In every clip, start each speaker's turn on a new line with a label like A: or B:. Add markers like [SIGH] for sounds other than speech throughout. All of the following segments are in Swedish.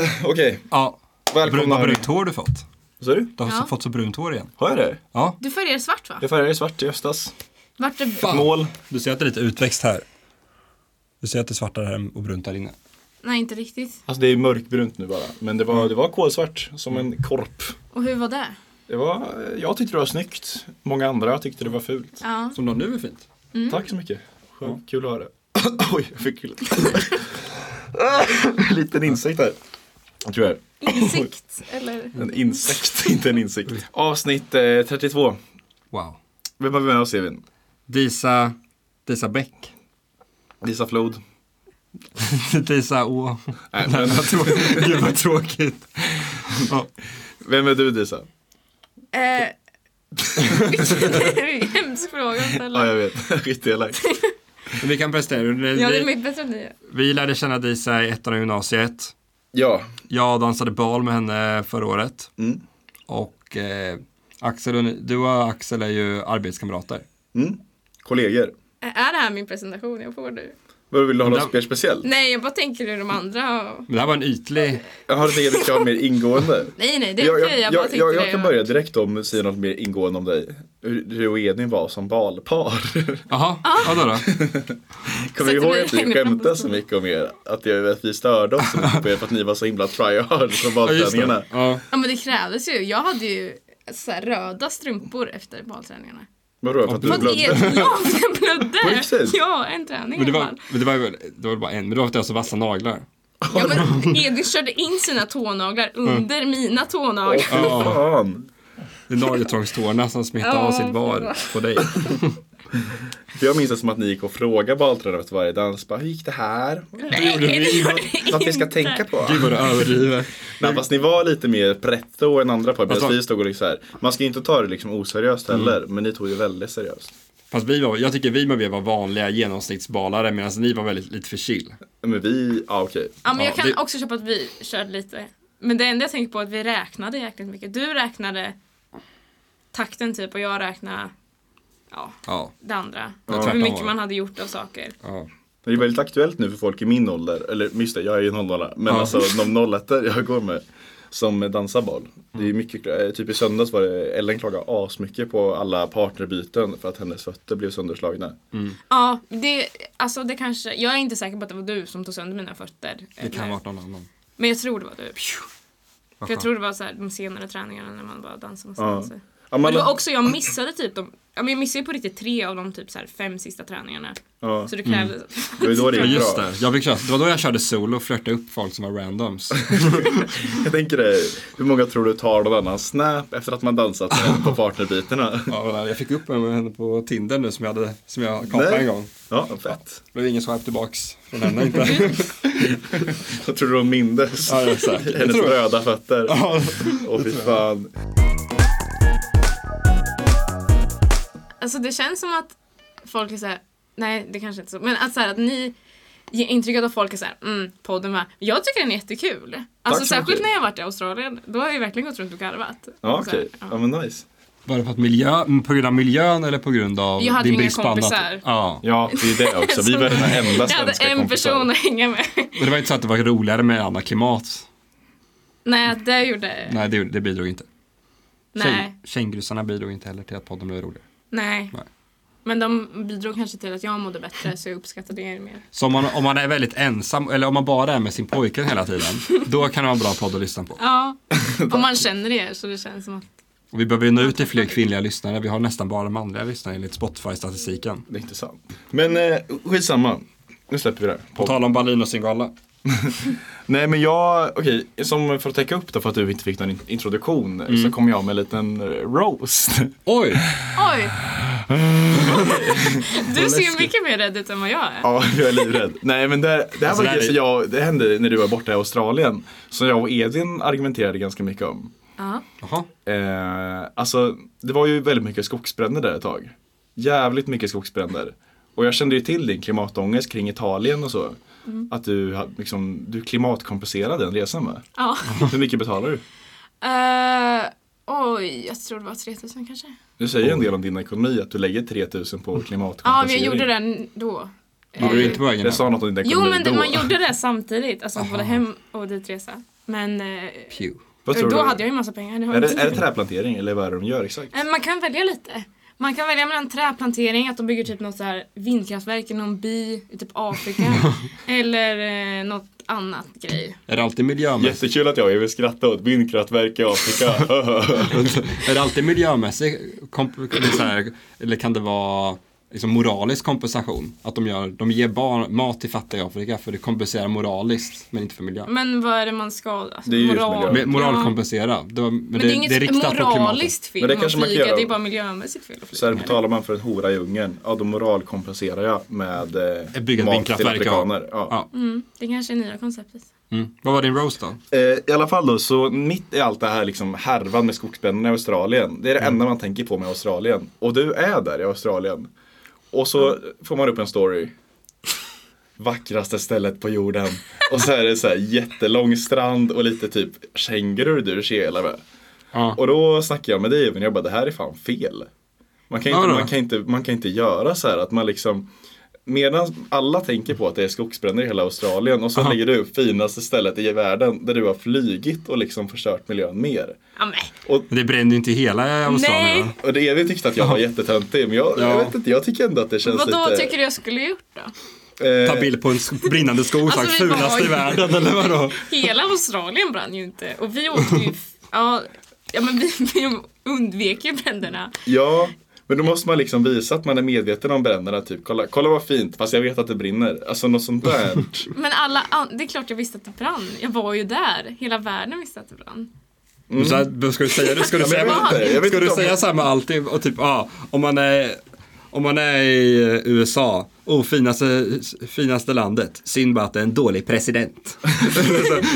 A: eh, Okej,
B: Ja. Brun,
A: välkomna.
B: vad brunt hår du fått.
A: Vad sa du?
B: Du har
C: Ja.
B: fått så brunt hår igen.
A: Har jag det?
B: Ja.
C: Du färgade svart va?
A: Jag färgade svart i höstas.
C: Vart det...
A: Mål.
B: Du ser att det är lite utväxt här. Du ser att det är svartare här och brunt där inne.
C: Nej, inte riktigt.
A: Alltså det är mörkbrunt nu bara. Men det var, det var kolsvart, som en korp.
C: Och hur var det?
A: Det var, jag tyckte det var snyggt. Många andra tyckte det var fult. [LAUGHS]
C: Ja.
B: Som du har nu är fint.
A: Tack så mycket. Skönt, kul att höra. Mm. [COUGHS] Oj, jag fick kul. [COUGHS] Liten insekt här. Tyvärr.
C: Insikt, eller?
A: En insekt, [LAUGHS] inte en insikt. Avsnitt eh, 32.
B: Wow.
A: Vem har vi med oss Evin?
B: Disa, Disa Bäck.
A: Lisa Flod.
B: [LAUGHS] Disa Å. [LAUGHS]
A: Nej, men,
B: Gud vad tråkigt. Ja.
A: vem är du Disa?
C: Eh... [LAUGHS] det är en hemsk fråga att
A: Ja,
C: ställa.
A: jag vet. [LAUGHS] Skitelak.
B: Vi kan prestera.
C: Ja, det är
B: Vi,
C: mycket bättre än ni.
B: vi lärde känna Disa i ettan av gymnasiet.
A: Ja.
B: Jag dansade bal med henne förra året.
A: Mm.
B: Och eh, Axel och, ni- du och Axel är ju arbetskamrater.
A: Mm. Kollegor.
C: Eh, Är det här min presentation? Jag får det.
A: Vad vill du ha något
B: Där-
A: mer speciellt?
C: Nej, jag bara tänker hur de andra har...
B: Men det här var en ytlig...
A: Jag har inte eget klart mer ingående.
C: Nej, nej, [LAUGHS] det är
A: Jag,
C: okej.
A: jag,
C: jag
A: jag,
C: bara tänkte
A: jag,
C: det.
A: jag kan börja direkt om säga något mer ingående om dig. Hur du och Edvin var som valpar. [LAUGHS]
B: Jaha,
C: Ah.
B: vadå då?
A: Kommer du
C: Sätter
A: ihåg
C: mig
A: att vi
C: längre fram på
A: skämtade så
C: stolen.
A: mycket om er? Att, jag, att vi störde oss så mycket på er för att ni var så himla tryhard från
B: Ja, just
A: valträningarna.
B: det. Ja.
C: Ja, men det krävdes ju. Jag hade ju så här röda strumpor efter balträningarna.
A: Vadå? För att
B: För
A: du
B: att
C: Vad
A: blödde? [LAUGHS]
C: är Ja, jag blödde!
A: På riktigt?
C: Ja, en träning
B: Men det
C: i alla
B: var,
C: fall.
B: men det var, väl- det var bara en, men det var för att jag har så vassa naglar.
C: Ja, men Edvin körde in sina tånaglar under mina
A: Mm. Åh fy
C: tånaglar.
A: fan.
B: Det är nageltrångstårna som smittar av
C: Ja,
B: sitt var på dig.
A: För jag minns det som att ni gick och frågade valtränaren efter varje dans. Bara, hur gick det
C: [LAUGHS]
A: här?
B: Det gjorde vi innan.
A: Något vi ska
C: Inte.
A: tänka på?
B: Gud vad du överdriver.
A: Nej, fast ni var lite mer pretto än andra par. Medan
B: Fast- Mm.
A: vi stod och liksom så här. Man ska ju inte ta det liksom oseriöst heller. Men ni tog det väldigt seriöst.
B: Fast vi var, jag tycker vi med vi var vanliga genomsnittsbalare medan ni var väldigt lite för chill.
A: Men vi, ja okej.
C: Ja, men
B: Ja,
C: jag kan
B: det-
C: också köpa att vi körde lite. Men det enda jag tänker på är att vi räknade jäkligt mycket. Du räknade takten typ och jag räknade ja,
B: Ja.
C: det andra.
B: tvärtom
C: Hur
B: var
C: mycket
B: det.
C: man hade gjort av saker.
B: ja.
A: Men det är väldigt aktuellt nu för folk i min ålder, eller just det, jag är ju 00 men
B: Ja.
A: alltså de 01 jag går med som dansar boll. Det
B: Mm.
A: är mycket, eh, typ i söndags var det, Ellen klagade asmycket på alla partnerbyten för att hennes fötter blev sönderslagna.
B: Mm.
C: Ja, det, alltså det kanske, jag är inte säker på att det var du som tog sönder mina fötter.
B: Det kan
C: Eller-
B: varit någon annan.
C: Men jag tror det var du. För jag
B: skönt.
C: tror det var så här, de senare träningarna när man bara dansade massa
A: Ja.
C: danser.
A: Ja,
C: Men
A: man,
C: det var också, jag missade typ de, ja, men jag missade ju på riktigt tre av de typ så här fem sista träningarna.
A: ja,
C: Så det krävdes.
A: det var ju då Mm. det
B: Ja
A: gick
B: just
A: bra.
B: det, jag fick köra, det var då jag körde solo och flörtade upp folk som var randoms.
A: Jag tänker det, hur många tror du tar någon annan snap efter att man dansat med henne på partnerbytena?
B: Ja, jag fick upp en med henne på Tinder nu som jag, hade, som jag kapade
A: Nej.
B: en gång.
A: Ja, fett.
B: Det blev ingen swipe tillbaks från henne inte.
A: [LAUGHS] Jag tror du hon mindes [LAUGHS]
B: Ja, exakt. Det
A: hennes
B: tror jag.
A: röda fötter.
B: Ja.
A: Åh fy fan.
C: Alltså det känns som att folk är såhär, nej det kanske inte är så, men att, så här, att ni ger intrycket att folk är såhär, mm, podden var, jag tycker den är jättekul. Alltså
A: så
C: särskilt
A: mycket.
C: när jag varit i Australien, då har jag verkligen gått runt och garvat.
A: Ja
C: Så här,
A: okej,
C: Alltså, ja.
A: ja men nice.
B: [LAUGHS] Var det för att miljö, på grund av miljön eller på grund av
C: Jag hade
B: din
C: inga
B: brist på annat?
C: kompisar.
B: Ja.
A: Ja, det är det också. Vi
C: [LAUGHS]
A: var den enda
C: Jag hade
A: svenska
C: en person
A: kompisar.
C: att hänga med. [LAUGHS]
B: Men det var inte så att det var roligare med annat klimat?
C: Nej, det gjorde... Nej.
B: Nej, det, det bidrog inte.
C: Nej.
B: Käng- Kängurusarna bidrog inte heller till att podden blev roligare. Nej.
C: Men de bidrog kanske till att jag mådde bättre så jag uppskattade
A: [LAUGHS]
C: er mer.
B: Så om man, om man är väldigt ensam, eller om man bara är med sin pojke hela tiden, då kan det vara en bra podd att lyssna på.
C: Ja, om man känner er så det känns som att...
B: Och vi behöver ju nå ut till fler kvinnliga lyssnare, vi har nästan bara manliga lyssnare enligt Spotify-statistiken.
A: Det är inte sant. Men eh, skitsamma. Nu släpper vi det här.
B: På tal om Berlinåsingala.
A: Nej men jag, okej, som för att täcka upp då för att du inte fick någon in- introduktion så kom jag med en liten eh, roast.
B: Oj!
C: Oj! Du ser mycket mer rädd ut än vad jag är.
A: [LAUGHS] ja, jag är livrädd. Nej men det, det här
B: Alltså,
A: var
B: det här
A: grejer
B: är-
A: som jag, det hände när du var borta i Australien. Som jag och Edvin argumenterade ganska mycket om.
C: Ja.
B: Jaha.
A: Eh, alltså det var ju väldigt mycket skogsbränder där ett tag. Jävligt mycket skogsbränder. Och jag kände ju till din klimatångest kring Italien och så.
C: Mm.
A: Att du, ha- liksom, du klimatkompenserade den resan med.
C: ja.
A: Hur mycket betalar du?
C: Eh, oj, jag tror det var 3000 kanske.
A: Du säger en del om din ekonomi att du lägger 3000 på
C: Mm. Ja, men
A: klimatkompensering.
C: jag gjorde den då.
B: Gjorde du inte på vägen
A: Jag
B: hem?
A: sa något om din
C: Jo
A: ekonomi
C: men det,
A: då.
C: man gjorde det samtidigt, alltså
B: Aha.
C: både hem och ditresa. Men eh,
B: Pew.
A: Vad
C: då
A: tror du?
C: hade jag ju massa pengar. Det har
A: Är
C: jag
A: det,
C: inte.
A: är det träplantering eller vad är det de gör exakt?
C: Eh, Man kan välja lite. Man kan välja mellan träplantering, att de bygger typ något så här vindkraftverk i någon by i typ
A: [LAUGHS]
C: Afrika. eller eh, något annat grej.
B: Är det alltid miljömässigt?
A: Jättekul att jag vill skratta åt vindkraftverk i Afrika. [LAUGHS]
B: Är det alltid miljömässig komp- eller så här, eller kan det vara liksom moralisk kompensation? Att de, gör, de ger barn mat till fattiga i Afrika för det kompenserar moraliskt men inte för miljön.
C: Men vad är det man ska... Alltså,
A: Det är ju just miljö.
B: Men moral
C: Ja.
B: kompensera. Det var, men,
C: Men
B: det,
C: det,
B: det,
C: är inget
B: är riktat på klimatet.
C: moraliskt fel
A: Men det
C: att
A: kanske man kan
C: flyga,
A: göra.
C: det är bara miljömässigt fel att
A: Så
C: flyga.
A: här betalar man för en hora i djungeln, ja då moralkompenserar jag med eh,
B: Bygga ett
A: mat till
B: vindkraftverk, ja.
A: afrikaner. Ja.
B: Ja.
C: Mm, det kanske är nya konceptet.
B: Mm. Vad var din roast då?
A: Eh, I alla fall då, så mitt i allt det här liksom härvan med skogsbränderna i Australien. Det är det
B: Mm.
A: enda man tänker på med Australien. Och du är där i Australien. Och så
B: Mm.
A: får man upp en story. Vackraste stället på jorden. Och så är det så här jättelång strand och lite typ kängurur du kelar med.
B: Ja.
A: Och då snackar jag med dig men jag bara det här är fan fel. Man kan
B: Ja
A: inte,
B: då.
A: man kan inte, man kan inte göra så här att man liksom Medan alla tänker på att det är skogsbränder i hela Australien och så
B: Aha.
A: lägger du upp finaste stället i världen där du har flygit och liksom förstört miljön mer.
C: Ja, men.
B: Men det brände ju inte hela Australien
C: Nej.
B: va?
A: Och det är vi tyckte att jag var jättetöntig men jag,
B: Ja.
A: jag vet inte, jag tycker ändå att det känns
C: Vad då
A: lite
C: tycker du jag skulle gjort då?
A: eh,
B: Ta bild på en sk- brinnande skog
C: Alltså,
B: sagt,
C: vi var-
B: fulast i världen eller vadå?
C: Hela Australien brann ju inte och vi åkte ju... f- Ja, ja men vi, vi undvek ju bränderna.
A: Ja, men då måste man liksom visa att man är medveten om bränderna typ kolla, kolla vad fint fast jag vet att det brinner. Alltså något sånt där.
B: [LAUGHS]
C: Men alla, an- det är klart jag visste att det brann. Jag var ju där. Hela världen visste att det brann.
B: Så här, ska du säga det? Ska du
A: Mm. Ja, men
B: säga,
A: jag vet inte, jag vet
B: ska du
A: inte om-
B: säga så här med allt? Och typ, ja, om, man är, om man är i eh, USA, oh, finaste, finaste landet, synd bara att det är en dålig president. [LAUGHS]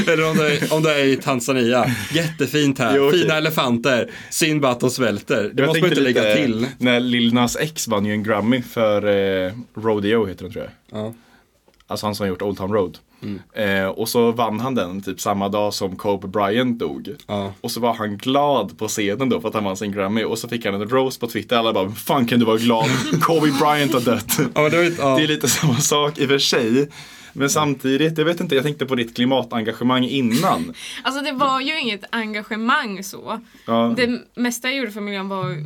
B: Eller om du, är, om du är i Tanzania, jättefint här,
A: Jo, okej.
B: fina elefanter, synd bara att de svälter. Det
A: Jag
B: måste man
A: tänkte
B: inte lägga
A: lite
B: till.
A: När Lil Nas X vann ju en Grammy för eh, Rodeo heter den tror jag.
B: Ja.
A: Alltså han som har gjort Old Town Road. Eh, och så vann han den typ samma dag som Kobe Bryant dog.
B: Ja.
A: Och så var han glad på scenen då för att han vann sin Grammy. Och så fick han en rose på Twitter. Alla bara, "Hur fan kan du vara glad? Kobe Bryant har dött.
B: Ja, men det var ju- ja.
A: Det är lite samma sak i och för sig. Men samtidigt, jag vet inte, jag tänkte på ditt klimatengagemang innan.
C: Alltså det var ju inget engagemang så.
A: Ja,
C: Det mesta jag gjorde för miljön var,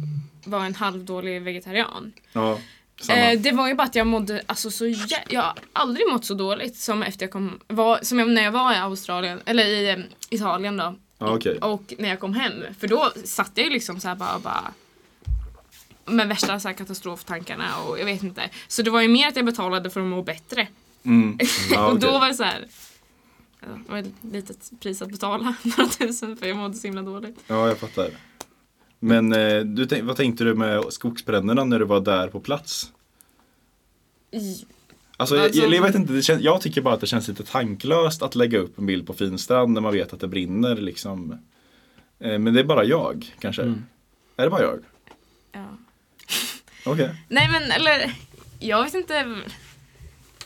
C: var en halvdålig vegetarian.
A: ja, samma.
C: Eh, det var ju bara att jag mådde, alltså så jä- jag har aldrig mått så dåligt som efter jag kom, var, som jag, när jag var i Australien, eller i eh, Italien då.
A: ja, okej.
C: Och när jag kom hem, för då satt jag ju liksom så här bara, bara med värsta så här katastroftankarna och jag vet inte. Så det var ju mer att jag betalade för att må bättre.
A: Mm. Ja,
C: Och
A: okej.
C: då var det så här. ja, Det var ett litet pris att betala, [LAUGHS] några tusen, för jag mådde så himla dåligt.
A: Ja, jag fattar. Men eh, du, tänk- vad tänkte du med skogsbränderna när du var där på plats? Alltså,
C: Alltså-
A: Jag, jag vet inte, det känns, jag tycker bara att det känns lite tanklöst att lägga upp en bild på Finstrand när man vet att det brinner liksom. Eh, men det är bara jag kanske.
B: Mm.
A: Är det bara jag?
C: Ja.
A: Okej.
C: Nej men eller, jag vet inte.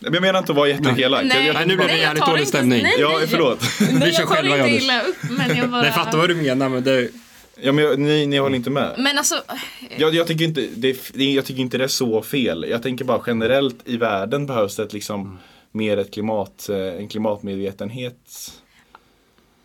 A: Men jag menar inte att vara jätteelak. Jag- jag-
B: Nej, nu blir det
C: jag
B: jävligt
C: tar
B: dålig
C: inte-
B: stämning.
C: Nej,
A: Ja,
C: nej.
A: förlåt.
C: Nej,
B: Vi kör
C: jag tar
B: själva, Johannes.
C: inte illa upp men jag bara...
B: Nej, jag fattar vad du menar, men det,
A: Ja, men jag, ni, ni håller inte
B: Mm.
A: med.
C: Men alltså,
A: Jag, jag, tycker inte, det, är f- det är- jag tycker inte det är så fel. Jag tänker bara generellt i världen behövs det ett,
B: Mm.
A: liksom, mer ett klimat, eh, en klimatmedvetenhet.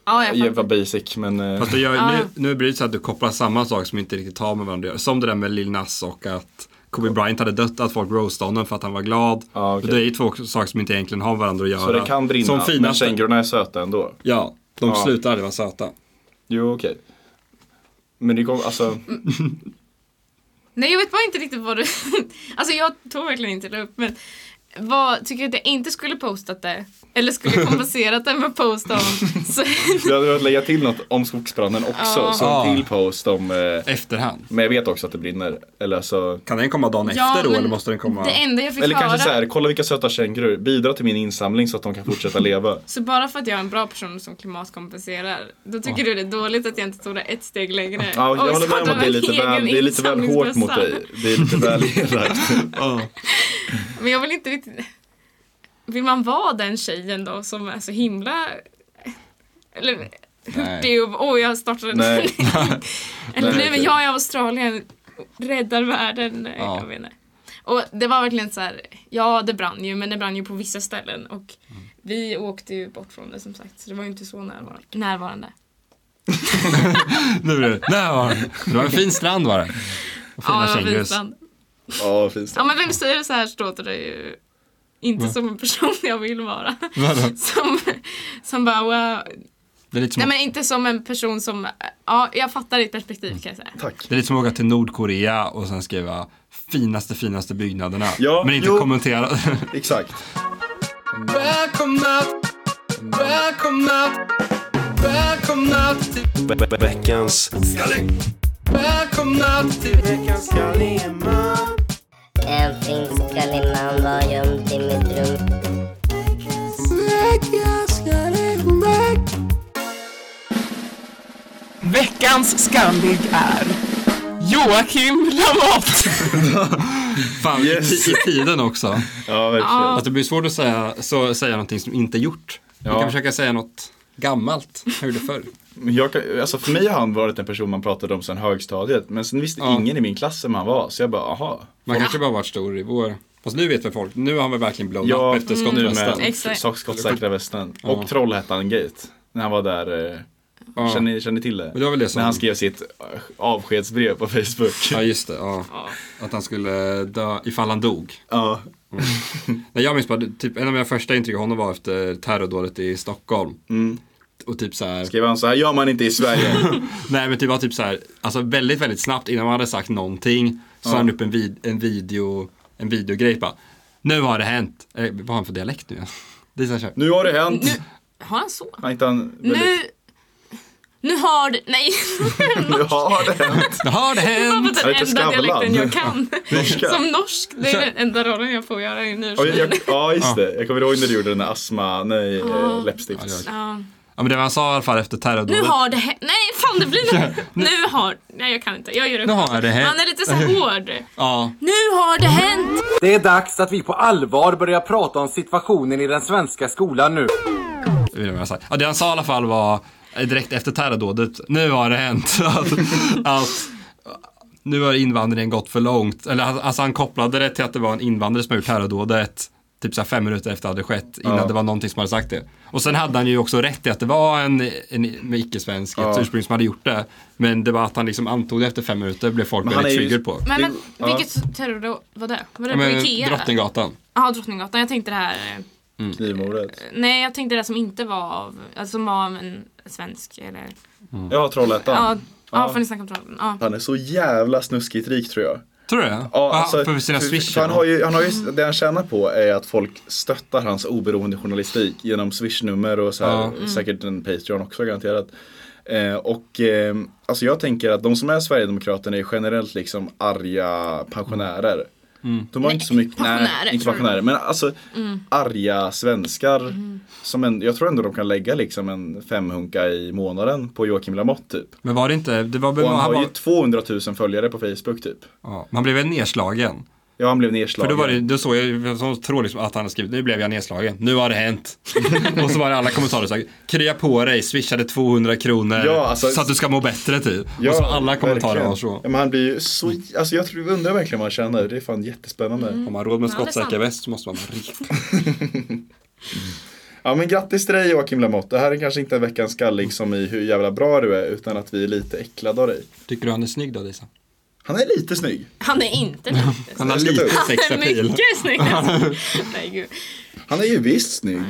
C: ja, jag
A: Jag
C: fattar.
A: var basic men eh,
B: Fast det gör,
C: Ja.
B: nu, nu blir det så att du kopplar samma sak som inte riktigt har med varandra att göra. Som det där med Lil Nas och att Kobe Bryant hade dött, att folk roastade honom för att han var glad.
A: Ja, okej.
B: Det är ju två saker som inte egentligen har med varandra att göra.
A: så det kan brinna.
B: Som
A: men
B: finaste,
A: kängurorna är söta ändå.
B: Ja, de
A: Ja.
B: slutar aldrig vara söta.
A: Jo okej. Men det kom, alltså,
C: Nej jag vet bara inte riktigt vad du... [LAUGHS] alltså jag tog verkligen inte illa upp men vad, tycker du att jag inte skulle postat det?
A: [LAUGHS]
C: Eller skulle kompenserat det med att posta om? Så,
A: du hade behövt lägga till något om skogsbranden också.
C: Ja.
A: Så
B: Ja.
A: en till post om, eh,
B: Efterhand.
A: men jag vet också att det brinner. Eller alltså,
B: Kan den komma dagen
C: Ja,
B: efter då
C: men
B: eller måste den komma?
C: det enda jag fick
A: eller
C: höra,
A: kanske så här, kolla vilka söta kängurur, bidra till min insamling så att de kan fortsätta leva.
C: så bara för att jag är en bra person som klimatkompenserar, då tycker du det är dåligt att jag inte tog det ett steg längre?
A: Ja,
C: Oj,
A: jag håller
C: så
A: med om
C: hade
A: att det är
C: jag
A: lite
C: en
A: väl,
C: egen
A: det är lite väl hårt mot
C: insamlingsbössa.
A: dig. [LAUGHS] Det är lite väl elakt.
B: Ja.
C: Men jag vill inte riktigt... Vill man vara den tjejen då som är så himla... Eller hurtig och... Åh, jag startade en...
A: Nej.
C: [LAUGHS] Eller
A: Nej,
C: nu är
A: okej.
C: jag i Australien, räddar världen.
B: Ja.
C: Jag vet inte. Och det var verkligen så här, ja det brann ju men det brann ju på vissa ställen och vi åkte ju bort från det som sagt så det var ju inte så närvarande. närvarande.
B: Nu blir det, där var den. Det var en fin strand var det. Och
C: Ja,
B: fina
C: det var
B: kängurus.
C: visland.
A: Ja, finns
C: Ja men vem säger så här så låter det ju inte som en person jag vill vara.
B: Vadå?
C: [LAUGHS] Som, som bara wow.
B: Det är lite som
C: Nej
B: att-
C: men inte som en person som, ja jag fattar ditt
B: Mm.
C: perspektiv kan jag säga.
A: Tack.
B: Det är lite som att åka till Nordkorea och sen skriva finaste finaste byggnaderna.
A: Ja,
B: men inte
A: jo.
B: kommentera.
A: Exakt.
B: Välkomna! Välkomna! Välkomna till...
D: Veckans
B: Välkomna till...
E: Allting ska innan vara gömt i mitt rum
F: Veckans skamlig är Joakim Lamotte.
B: Fan,
A: Yes.
B: i, i tiden också.
A: Ja, verkligen.
B: Att det blir svårt att säga, så, säga någonting som inte är gjort. Man
A: Ja.
B: kan försöka säga något gammalt. Jag gjorde förr.
A: Men Jag kan, alltså för mig har han varit en person man pratade om sedan högstadiet. Men sen visste
B: Ja.
A: ingen i min klass vem han var. Så jag bara, aha.
B: Man kanske bara varit stor i vår... Fast nu vet väl folk. Nu har han väl verkligen blown
A: Ja,
B: up efter
A: nu
B: skottvästen.
A: med
C: Exakt.
A: sak- skottsäkra västen. Och Trollhättan-gate. När han var där. eh,
B: Ja.
A: Känner, ni- känner ni till det?
B: Men det var väl det som-
A: När han skrev sitt eh, avskedsbrev på Facebook. [LAUGHS]
B: Ja, just det. Ja. Att han skulle dö ifall han dog.
A: Ja.
B: Nej, jag minns bara, typ, en av mina första intryck av honom var efter terrordådet i Stockholm.
A: Mm.
B: Och typ så här,
A: Skrev han så här, gör man inte i Sverige. [LAUGHS]
B: nej men typ bara typ så här, alltså väldigt, väldigt snabbt innan man hade sagt någonting så la han upp en, vid, en video, en videogrej bara, nu har det hänt. Eh, vad har han för dialekt nu? Det är så här, så här,
A: nu har det hänt.
C: Nu, har han så?
A: Har inte han väldigt...
C: [LAUGHS]
A: [LAUGHS]
C: Nu, nu har det, nej. [LAUGHS]
A: Nu har det hänt.
B: nu har det hänt!
C: Det var
A: Jag heter
C: den enda
A: Skavlan.
C: dialekten jag kan.
B: [LAUGHS]
A: Norska.
C: Som norsk, det är den enda rollen jag får göra i
A: Ja, jag,
C: nyårsfirandet.
A: jag, ja just det. Jag kommer ihåg när du gjorde den där astma, nej, eh, läppstifts.
B: Ja,
C: Ja.
B: Ja men det var han sa i alla fall efter
C: Nu
B: terrordådet.
C: har det hänt. Nej, fan det blir något.
B: [LAUGHS]
C: Nu har... Nej, jag kan inte. Jag gör det.
B: Nu har det hänt.
C: Han är lite så här hård.
B: Ja,
C: Nu har det hänt.
G: Det är dags att vi på allvar börjar prata om situationen i den svenska skolan nu.
B: det vill jag säga. Ja, det han sa i alla fall var eh, direkt efter terrordådet, nu har det hänt. [LAUGHS] att, att nu har invandringen gått för långt. Eller alltså han kopplade det till att det var en invandrare som hade gjort terrordådet. Typ så här fem minuter efter det hade skett, innan
A: Ja.
B: det var någonting som hade sagt det. Och sen hade han ju också rätt i att det var en, en med icke-svensk, ett
A: Ja.
B: ursprung som hade gjort det. Men det var att han liksom antog det efter fem minuter, blev folk
A: Men han
B: väldigt
A: är ju-
B: trigged på.
C: Men, men
A: Ja.
C: vilket terrordåd var det? Var det
B: Ja,
C: på
B: men
C: Ikea?
B: Drottninggatan.
C: Ja, Drottninggatan. Jag tänkte det här... eh,
A: Knivmordet.
C: Nej, jag tänkte det som inte var av... Alltså som var av en svensk eller...
B: Mm.
A: Ja,
C: Ja,
A: Trollhättan.
C: ja får ni snacka om Trollhättan. Ja.
A: Han är så jävla snuskigt rik tror jag.
B: Tror du det?
A: Ja,
B: Ah,
A: alltså,
B: för sina
A: för-
B: swish.
A: för han har ju, han har ju, det han tjänar på är att folk stöttar hans oberoende journalistik genom swishnummer och så här,
B: Ja.
A: säkert en Patreon också garanterat. Eh, och eh, alltså jag tänker att de som är Sverigedemokraterna är ju generellt liksom arga pensionärer.
B: Mm.
A: De har inte så mycket,
C: pensionärer,
A: nej, inte
C: tror du?
A: pensionärer, men alltså arga svenskar. Som en, jag tror ändå de kan lägga liksom en femhunka i månaden på Joakim Lamotte typ.
B: Men var det inte, det var,
A: Och han, har
B: var,
A: ju 200 000 följare på Facebook typ.
B: ja, man blev väl nedslagen.
A: Ja han blev
B: För
A: nedslagen.
B: då, var det, då såg jag, så tror liksom att han hade skrivit, nu blev jag nedslagen, nu har det hänt. [LAUGHS] och så var det alla kommentarer så här, krya på dig, swishade 200 kronor
A: Ja, alltså-
B: så att du ska må bättre typ. och så alla kommentarer
A: verkligen.
B: var så.
A: Ja, men han blir ju så, alltså jag tror, undrar verkligen vad han tjänar, det är fan jättespännande.
C: Mm.
B: Om man har råd med
C: Ja, det är
B: skottsäker
C: sant.
B: väst så måste man vara riktigt.
A: Ja men grattis till dig Joakim Lamotte, det här är kanske inte en veckans skallig som i hur jävla bra du är utan att vi är lite äcklade av dig.
B: Tycker du han är snygg då Lisa?
A: Han är lite snygg.
C: Han är inte lite
B: Han har
A: Jag ska ta
B: lite
A: upp.
B: sexapil.
C: Mycket snygg alltså. Nej, gud.
A: Han är ju visst snygg.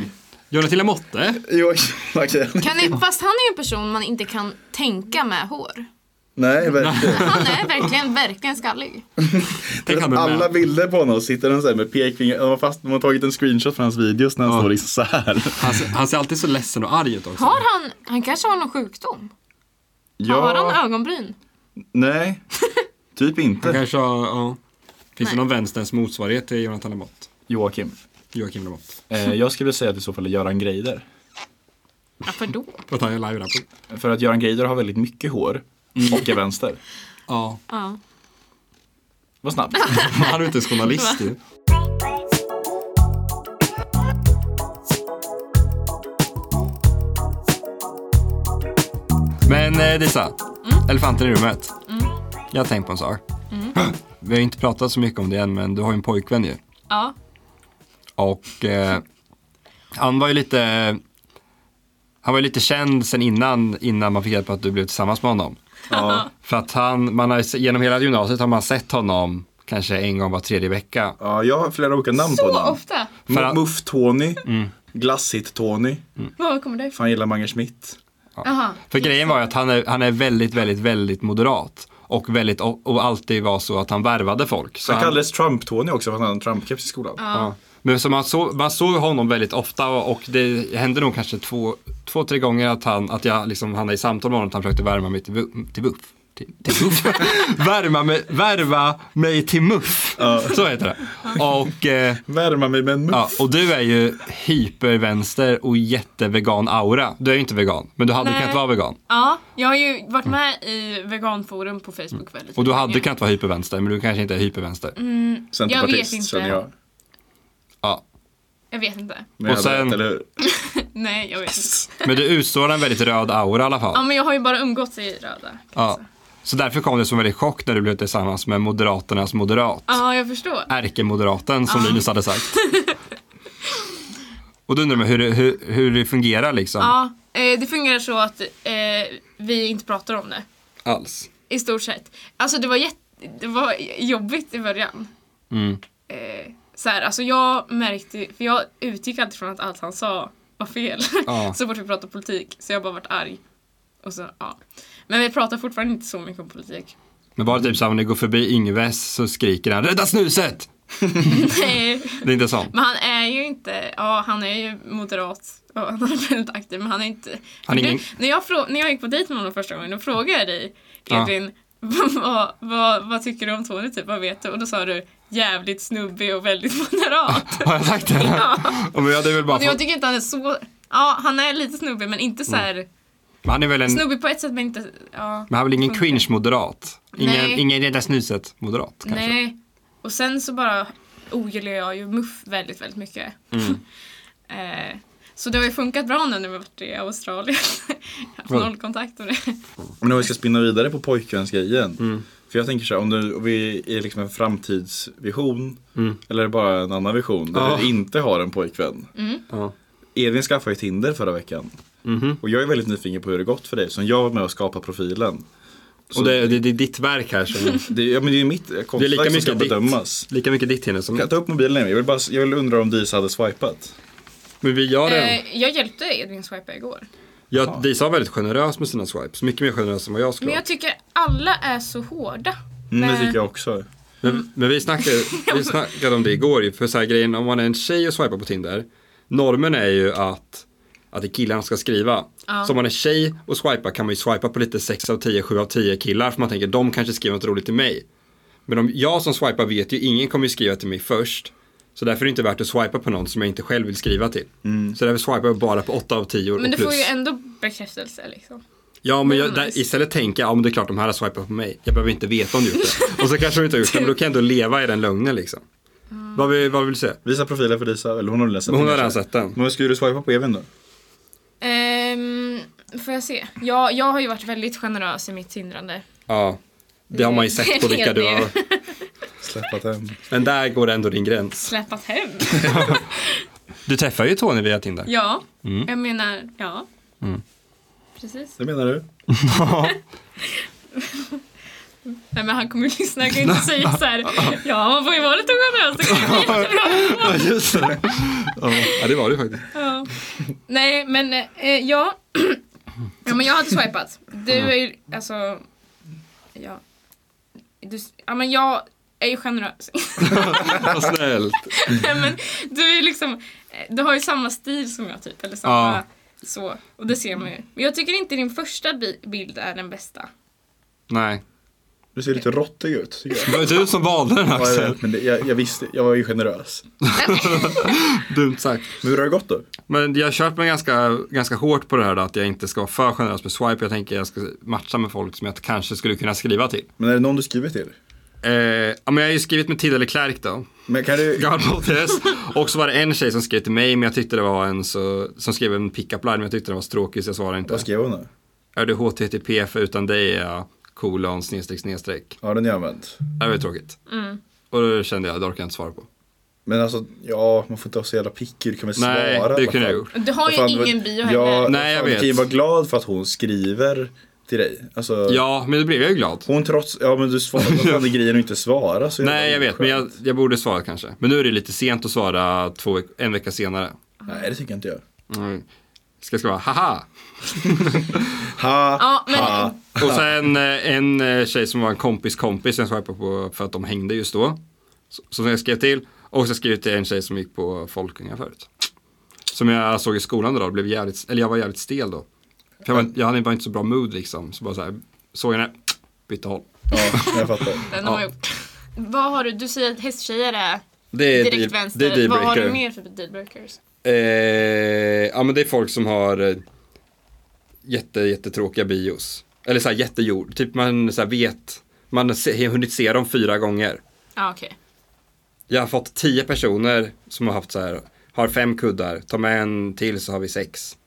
B: Jonathan Lamotte?
A: Joakim, [LAUGHS] okej.
C: Kan ni, fast han är ju en person man inte kan tänka med hår.
A: Nej [LAUGHS] verkligen.
C: Han är verkligen, verkligen skallig.
B: Tänk han blev
A: Alla
B: med.
A: bilder på honom sitter han så här med pekfingret, de har, fast, de har tagit en screenshot från hans videos när han står liksom så
C: [LAUGHS]
A: här.
B: Han, ser- han ser alltid så ledsen och arg ut också.
C: Har han, han kanske har någon sjukdom? Har han ögonbryn? [LAUGHS]
A: nej, typ
B: Han
A: inte.
B: kanske har, ja. Finns det
C: Nej.
B: någon vänsterns motsvarighet till Jonathan Lamotte?
A: Joakim,
B: Joakim Lamotte.
A: eh, jag skulle säga att i så fall är Göran Greider.
C: Varför då?
B: För att han är live-rapport.
A: För att Göran Greider har väldigt mycket hår och är vänster.
B: Ja.
C: Ja.
A: Vad [LAUGHS] snabbt.
B: Han är ju inte ens journalist ju. Men eh, Lisa, elefanten i rummet. Jag har tänkt på en sak. [GASPS] vi har ju inte pratat så mycket om det än, men du har ju en pojkvän ju.
C: Ja.
B: Och eh, han var ju lite, han var ju lite känd sen innan, innan man fick reda på att du blev tillsammans med honom.
A: Ja,
B: [LAUGHS] För att han, man har, ju se- genom hela gymnasiet har man sett honom kanske en gång var tredje vecka.
A: ja jag har flera olika namn på
C: Så
A: honom.
C: ofta.
B: För att-
A: Muff-Tony, Glasshit-Tony,
C: Var kommer det ifrån?
A: fan gillar Mange Schmidt.
C: Jaha.
B: För grejen var ju att han är, han är väldigt, väldigt, väldigt moderat. Och, väldigt, och och alltid var så att han värvade folk. Så
A: Han
B: han,
A: kallades Trump-Tony också för att han hade en Trump-keps i skolan.
B: ja. Men så man, såg, man såg honom väldigt ofta och och det hände nog kanske två, två tre gånger att, han, att jag liksom hamnade i samtal med honom att han försökte värma mig till, bu- till buff. Till, till buff. värma, mig, värva mig till muff. Så heter det. Och, eh,
A: Värma mig med en muff.
B: Ja, och du är ju hypervänster och jättevegan aura. Du är ju inte vegan, men du hade
C: Nej.
B: kunnat vara vegan.
C: Ja, jag har ju varit med i veganforum på Facebook väldigt
B: Och du
C: länge.
B: hade kunnat vara hypervänster, men du kanske inte är hypervänster.
A: Centerpartist
C: jag vet inte.
A: känner jag.
B: Ja.
C: Jag vet inte.
A: Men
B: Och
A: jag hade
B: sen-
A: rätt, eller hur?
C: Nej, jag vet inte.
B: Men du utstrålar en väldigt röd aura i alla fall.
C: Ja, men jag har ju bara umgåtts i röda.
B: Ja. Så därför kom det som en väldigt chock när du blev tillsammans med Moderaternas moderat.
C: Ja, jag förstår.
B: Ärkemoderaten, som Linus hade
C: [LAUGHS]
B: sagt. Och du undrar man hur, det- hur, hur det fungerar liksom.
C: Ja, eh, det fungerar så att eh, vi inte pratar om det.
B: Alls.
C: I stort sett. Alltså det var, jätte, det var jobbigt i början.
B: Mm.
C: Eh, så här, alltså jag märkte, för jag utgick alltid från att allt han sa var fel.
B: Ja.
C: [LAUGHS] så fort vi pratade politik. Så jag bara vart arg. Och så, ja. Men vi pratar fortfarande inte så mycket
B: [LAUGHS]
C: om politik.
B: Men bara typ så här, om ni går förbi Yngves så skriker han “Rädda snuset!”
C: Nej.
B: Det är inte sånt.
C: Men han är ju inte, ja han är ju moderat och [LAUGHS] han är väldigt aktiv men han är inte
B: Han är
C: För
B: ingen-
C: du, när, jag frå- när jag gick på dejt med honom första gången då frågade jag dig
B: Ja.
C: Edvin [LAUGHS] vad, vad, vad tycker du om Tony typ, vad vet du? Och då sa du jävligt snubbig och väldigt [LAUGHS] moderat.
B: Har jag sagt det?
C: [LAUGHS]
B: [LAUGHS]
C: Ja.
B: Ja, men jag hade väl bara
C: Och jag
B: fått,
C: tycker inte han är så, ja han är lite snubbig men inte så här
B: men han är väl en, Mm. men
C: snubbig på ett sätt men inte, ja.
B: han är väl ingen cringe-moderat? Ingen,
C: Nej.
B: ingen rädda snuset-moderat kanske?
C: Nej. Och sen så bara ogillar jag ju muff väldigt, väldigt mycket. [LAUGHS] eh, så det har ju funkat bra nu när vi har varit i Australien. [LAUGHS] jag har noll kontakt med det.
A: Men om vi ska spinna vidare på pojkvänsgrejen.
B: Mm.
A: För jag tänker så här, om, du, om vi är liksom en framtidsvision eller bara en annan vision där
B: Mm. Ja.
A: vi inte har en pojkvän.
B: Ja. Mhm.
A: Edvin skaffade ju Tinder förra veckan. Och jag är väldigt nyfiken på hur det gått för dig som jag var med och skapade profilen. Så
B: Och det, det, det är ditt verk här som,
A: det, ja, men det är ju mitt eh,
B: det är lika
A: konstverk som ska
B: mycket
A: bedömas.
B: ditt, lika mycket ditt Hennes som
A: Kan jag ta upp mobilen igen? Jag vill, bara, jag vill undra om Disa hade swipat.
B: Men vi gör det.
C: Eh, jag hjälpte Edvin swipa igår.
B: Jag, Disa var väldigt generös med sina swipes, mycket mer generös än vad jag skulle
C: Men
B: vara.
C: jag tycker alla är så hårda.
A: Mm, det
C: Nej.
A: tycker jag också.
B: Men, men vi,
C: [LAUGHS]
B: snackade, vi snackade om det igår ju, för så här grejen om man är en tjej och swipar på Tinder, normen är ju att, att det är killarna som ska skriva. Så om man är tjej och swipar kan man ju swipa på lite 6 av 10, 7 av 10 killar för man tänker de kanske skriver något roligt till mig. Men om jag som swipar vet ju, ingen kommer ju skriva till mig först. Så därför är det inte värt att swipa på någon som jag inte själv vill skriva till. Så därför swipar jag bara på 8 av 10 och
C: Men du
B: plus.
C: får ju ändå bekräftelse liksom.
B: Ja, men jag,
C: Mm,
B: där,
C: nice.
B: istället tänker jag, ja men det är klart de här har swipat på mig. Jag behöver inte veta om de gjort det. Och så kanske de inte har gjort det, men då kan jag ändå leva i den lögnen liksom. Vad, vill, vad vill du säga?
A: Visa profilen för Disa, eller hon har läst
B: Men hon har redan
A: kanske.
B: sett den.
A: Men skulle du swipa på Edvin då?
C: Ehm, får jag se? Jag, jag har ju varit väldigt generös i mitt tindrande.
B: Ja, det har man ju sett på vilka du har.
A: Släppat hem.
B: Men där går ändå din gräns.
C: Släpat hem.
B: Du träffar ju Tony via Tinder.
C: ja, jag menar, ja. Precis.
A: Det menar du?
C: Nej men han kommer ju lyssna, jag
B: [LAUGHS]
C: kan ju inte säga så här. Ja man får ju vara lite generös, det kan ju bli
B: [LAUGHS]
C: jättebra.
B: Ja, just det. Ja, det var det faktiskt.
C: Ja. Nej men eh, ja. [CLEARS THROAT] ja men jag hade swipat. Du
B: Mm.
C: är ju alltså. Ja. Du, ja men jag är ju generös. [LAUGHS]
B: Vad snällt.
C: Nej, men du är ju liksom. eh, Du har ju samma stil som jag typ. Eller samma.
B: Ja.
C: Så. Och det ser man ju. Men jag tycker inte din första bi- bild är den bästa.
B: Nej.
A: Du ser lite råttig ut tycker jag.
B: Det var ju du som valde den
A: Ja, jag
B: Axel.
A: vet, men det, jag, jag visste, jag var ju generös.
B: Dumt sagt.
A: Men hur har det gått då?
B: Men jag har kört mig ganska, ganska hårt på det här då, att jag inte ska vara för generös med swipe. Jag tänker jag ska matcha med folk som jag kanske skulle kunna skriva till.
A: Men är det någon du skrivit till?
B: Eh, ja, men jag har ju skrivit med Tilda Leclerc då.
A: Men kan du...
B: God [LAUGHS] bless. Och så var det en tjej som skrev till mig, men jag tyckte det var en så, som skrev en pick-up line, men jag tyckte den var så tråkig så jag svarade inte.
A: Vad skrev hon då?
B: Är du HTTP för utan dig är jag kolon snedstreck snedstreck.
A: Ja, den är använt.
B: Det var ju tråkigt. Och då kände jag, det orkar jag inte svara på.
A: Men alltså, ja, man får inte vara så jävla picky. Du kan väl
B: Nej,
A: svara.
B: det
A: vad
B: kunde jag
A: fan.
B: gjort.
C: Du har ju
A: Vad fan,
C: ingen
A: vad-
C: bio
A: ja,
C: heller.
A: Nej, jag vet. Du kan ju vara glad för att hon skriver till dig. Alltså,
B: Ja, men då blev jag ju glad.
A: Hon trots, ja men du svarade på den grejen och inte svara. Så
B: Nej, jag vet, men jag, jag borde svara kanske. Men nu är det lite sent att svara två, veck- en vecka senare.
A: Nej, det tycker jag inte jag.
B: Mm. Ska jag skriva haha?
A: Ha,
C: Ja, men-
A: ha.
B: Och sen eh, en eh, tjej som var en kompis kompis jag swipade på för att de hängde just då. Så- Som jag skrev till. Och så skrev jag till en tjej som gick på Folkunga förut. Som jag såg i skolan idag, blev jävligt, eller jag var jävligt stel då. För jag, var, jag hade bara inte så bra mood liksom. Så bara så här, såg henne, bytte håll.
A: Ja, jag fattar.
C: Den har jag gjort. [LAUGHS] Vad har du? Du säger att hästtjejer är
B: Det
C: direkt vänster.
B: det är
C: Vad har du
B: dealbreaker.
C: mer för dealbreakers?
B: Eh, ja men det är folk som har eh, jätte, jättetråkiga bios. Eller så här jättejord, typ man så här vet, man har se- hunnit se dem fyra gånger.
C: Ja, okej.
B: Jag har fått tio personer som har haft så här, har fem kuddar, ta med en till så har vi
C: [LAUGHS]
B: sex.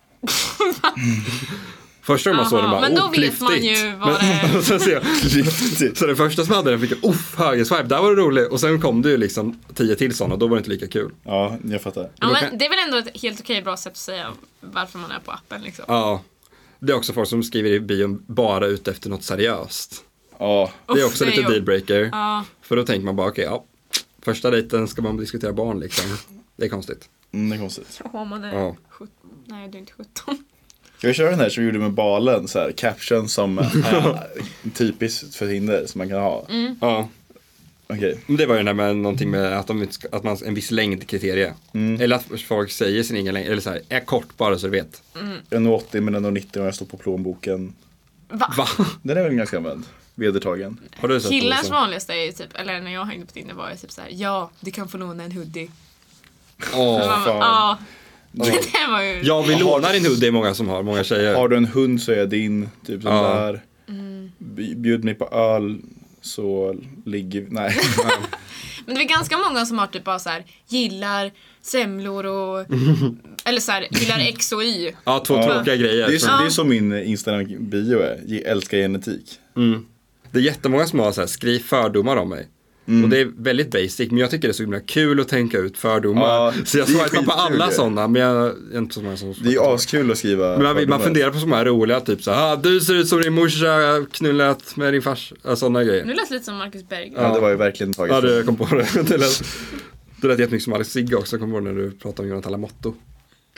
B: Första gången man såg den
C: Jaha,
B: bara,
C: men då
B: oh,
C: vet man
B: klyftigt."
C: ju vad det
B: [LAUGHS]
C: är.
B: Och sen ser jag, så den första som hade den fick jag, uff, högerswipe, där var det roligt. Och sen kom det ju liksom tio till sådana och då var det inte lika kul.
A: Ja, jag fattar.
C: Ja,
B: då
C: men
B: kan-
C: det är väl ändå ett helt okej bra sätt att säga varför man är på appen liksom.
B: Ja. Det är också folk som skriver i bion bara ute efter något seriöst.
A: Ja,
B: det är
C: Uff,
B: också
C: det är
B: lite
C: jobb-
B: dealbreaker.
C: Ja.
B: För då tänker man bara, okej, ja. Första dejten ska man diskutera barn liksom. Det är konstigt.
A: mm, det är konstigt.
C: Åh, man är
B: Ja.
C: 17. Nej, du är inte 17.
A: Ska vi köra den här som vi gjorde med balen? Så här, caption som
B: [LAUGHS]
A: äh, typiskt för Tinder som man kan ha.
B: Ja.
A: Okej,
B: Men det var ju det där med någonting med att, de, inte ska- att man en viss längdkriterie.
A: Mm.
B: Eller att folk säger sin egen längd. Eller så här, är kort bara så du vet.
A: jag når 80 men ändå 90 och jag står på plånboken.
B: Va?
A: Den är väl ganska använd? Vedertagen.
B: Har du sett det,
C: Killars
B: liksom?
C: vanligaste är ju typ, eller när jag hängde på Tinder var det typ såhär, ja, du kan få låna en hoodie.
B: Åh.
C: Man bara, Ja, [LAUGHS] det var ju...
B: Jag vill låna din hoodie är många som har, många tjejer.
A: Har du en hund så är jag din. Typ den
B: Ja.
A: där. Bj- Bjud mig på öl så ligger vi. Nej.
C: Men det är ganska många som har typ bara såhär, gillar
B: [LAUGHS]
C: semlor och... eller såhär, gillar X och Y.
B: [LAUGHS] Ja, två tråkiga
A: Det
B: grejer.
A: är, så,
B: som-
A: det är som min Instagram-bio är. Ge- Älskar genetik.
B: Det är jättemånga som har så här, skriv fördomar om mig.
A: Mm.
B: Och det är väldigt basic, men jag tycker det är så himla kul att tänka ut fördomar.
A: Ja,
B: så jag
A: det är
B: swipar på
A: skitkul
B: alla
A: ju.
B: sådana, men jag jag är inte så många som
A: Det är ju askul att skriva.
B: men man, man
A: fördomar.
B: funderar på sådana här roliga, typ så här, ah, du ser ut som din morsa, knullat med din fars, sådana grejer.
C: Nu lät det lite som Marcus Berggren.
A: Ja, det var ju verkligen taget.
B: Ja,
A: från-
B: det jag kom på det. Det lät, det lät jättemycket som Alex Sigge också, kom på när du pratade om Jonathan Lamotto.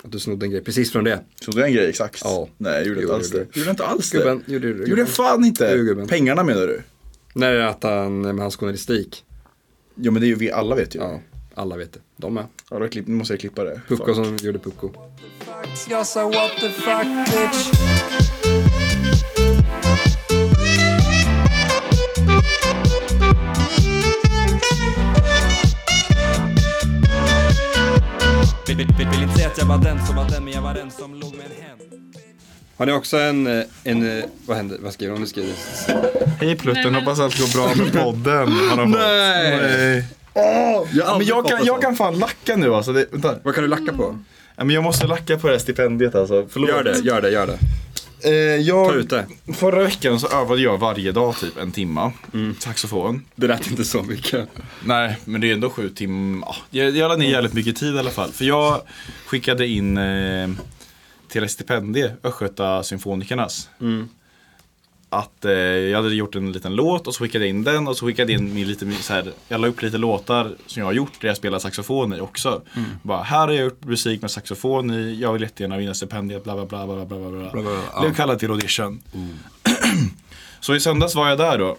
B: Att du snodde en grej precis från det.
A: Tog du en grej exakt?
B: Ja.
A: Nej, jag gjorde
B: Gjorde
A: inte alls
B: du.
A: det. Gjorde jag inte alls
B: Gubben,
A: det?
B: gjorde du det?
A: Gjorde jag fan inte.
B: Jo, gubben.
A: Pengarna menar du?
B: När det är att han, med hans journalistik.
A: Jo men det är ju vi alla vet ju. Ja.
B: Ja, alla vet det. De med.
A: då klipp, nu måste jag klippa det.
B: Pucko som gjorde Pucko.
H: Jag sa what the fuck bitch.
I: Vill, vill, vill, vill inte säga att jag var den som var den, men jag var den som låg med en hen.
B: Har ni också en, eh, en eh, vad händer, vad skriver hon? Nu skriver
J: Hej Plutten, hoppas allt går bra med podden. Har de fått. Nej.
A: Åh!
J: har
A: men
J: aldrig
A: jag
J: fått
A: kan,
J: en
A: jag
J: sån.
A: kan fan lacka nu alltså. Det, vänta.
B: Vad kan du lacka på?
A: Ja, men jag måste lacka på det här stipendiet alltså. Förlåt.
B: Gör det, gör det, gör det.
A: Eh, jag,
B: Ta ut det.
A: Förra veckan så övade jag varje dag typ en timma. Saxofon.
B: Det lät inte så mycket.
A: Nej, men det är ändå sju timmar. Ja, Jag, jag la ner jävligt mycket tid i alla fall. För jag skickade in eh, till ett stipendie, Östgöta Symfonikernas. Att eh, jag hade gjort en liten låt och så skickade jag in den och så skickade jag in min lite, min- så här, jag la upp lite låtar som jag har gjort där jag spelar saxofon i också. Bara, här har jag gjort musik med saxofon i, jag vill jättegärna vinna stipendiet, bla bla bla bla bla bla. bla, bla,
B: bla, ja.
A: Blev kallad till audition. [CLEARS THROAT] så i söndags var jag där då.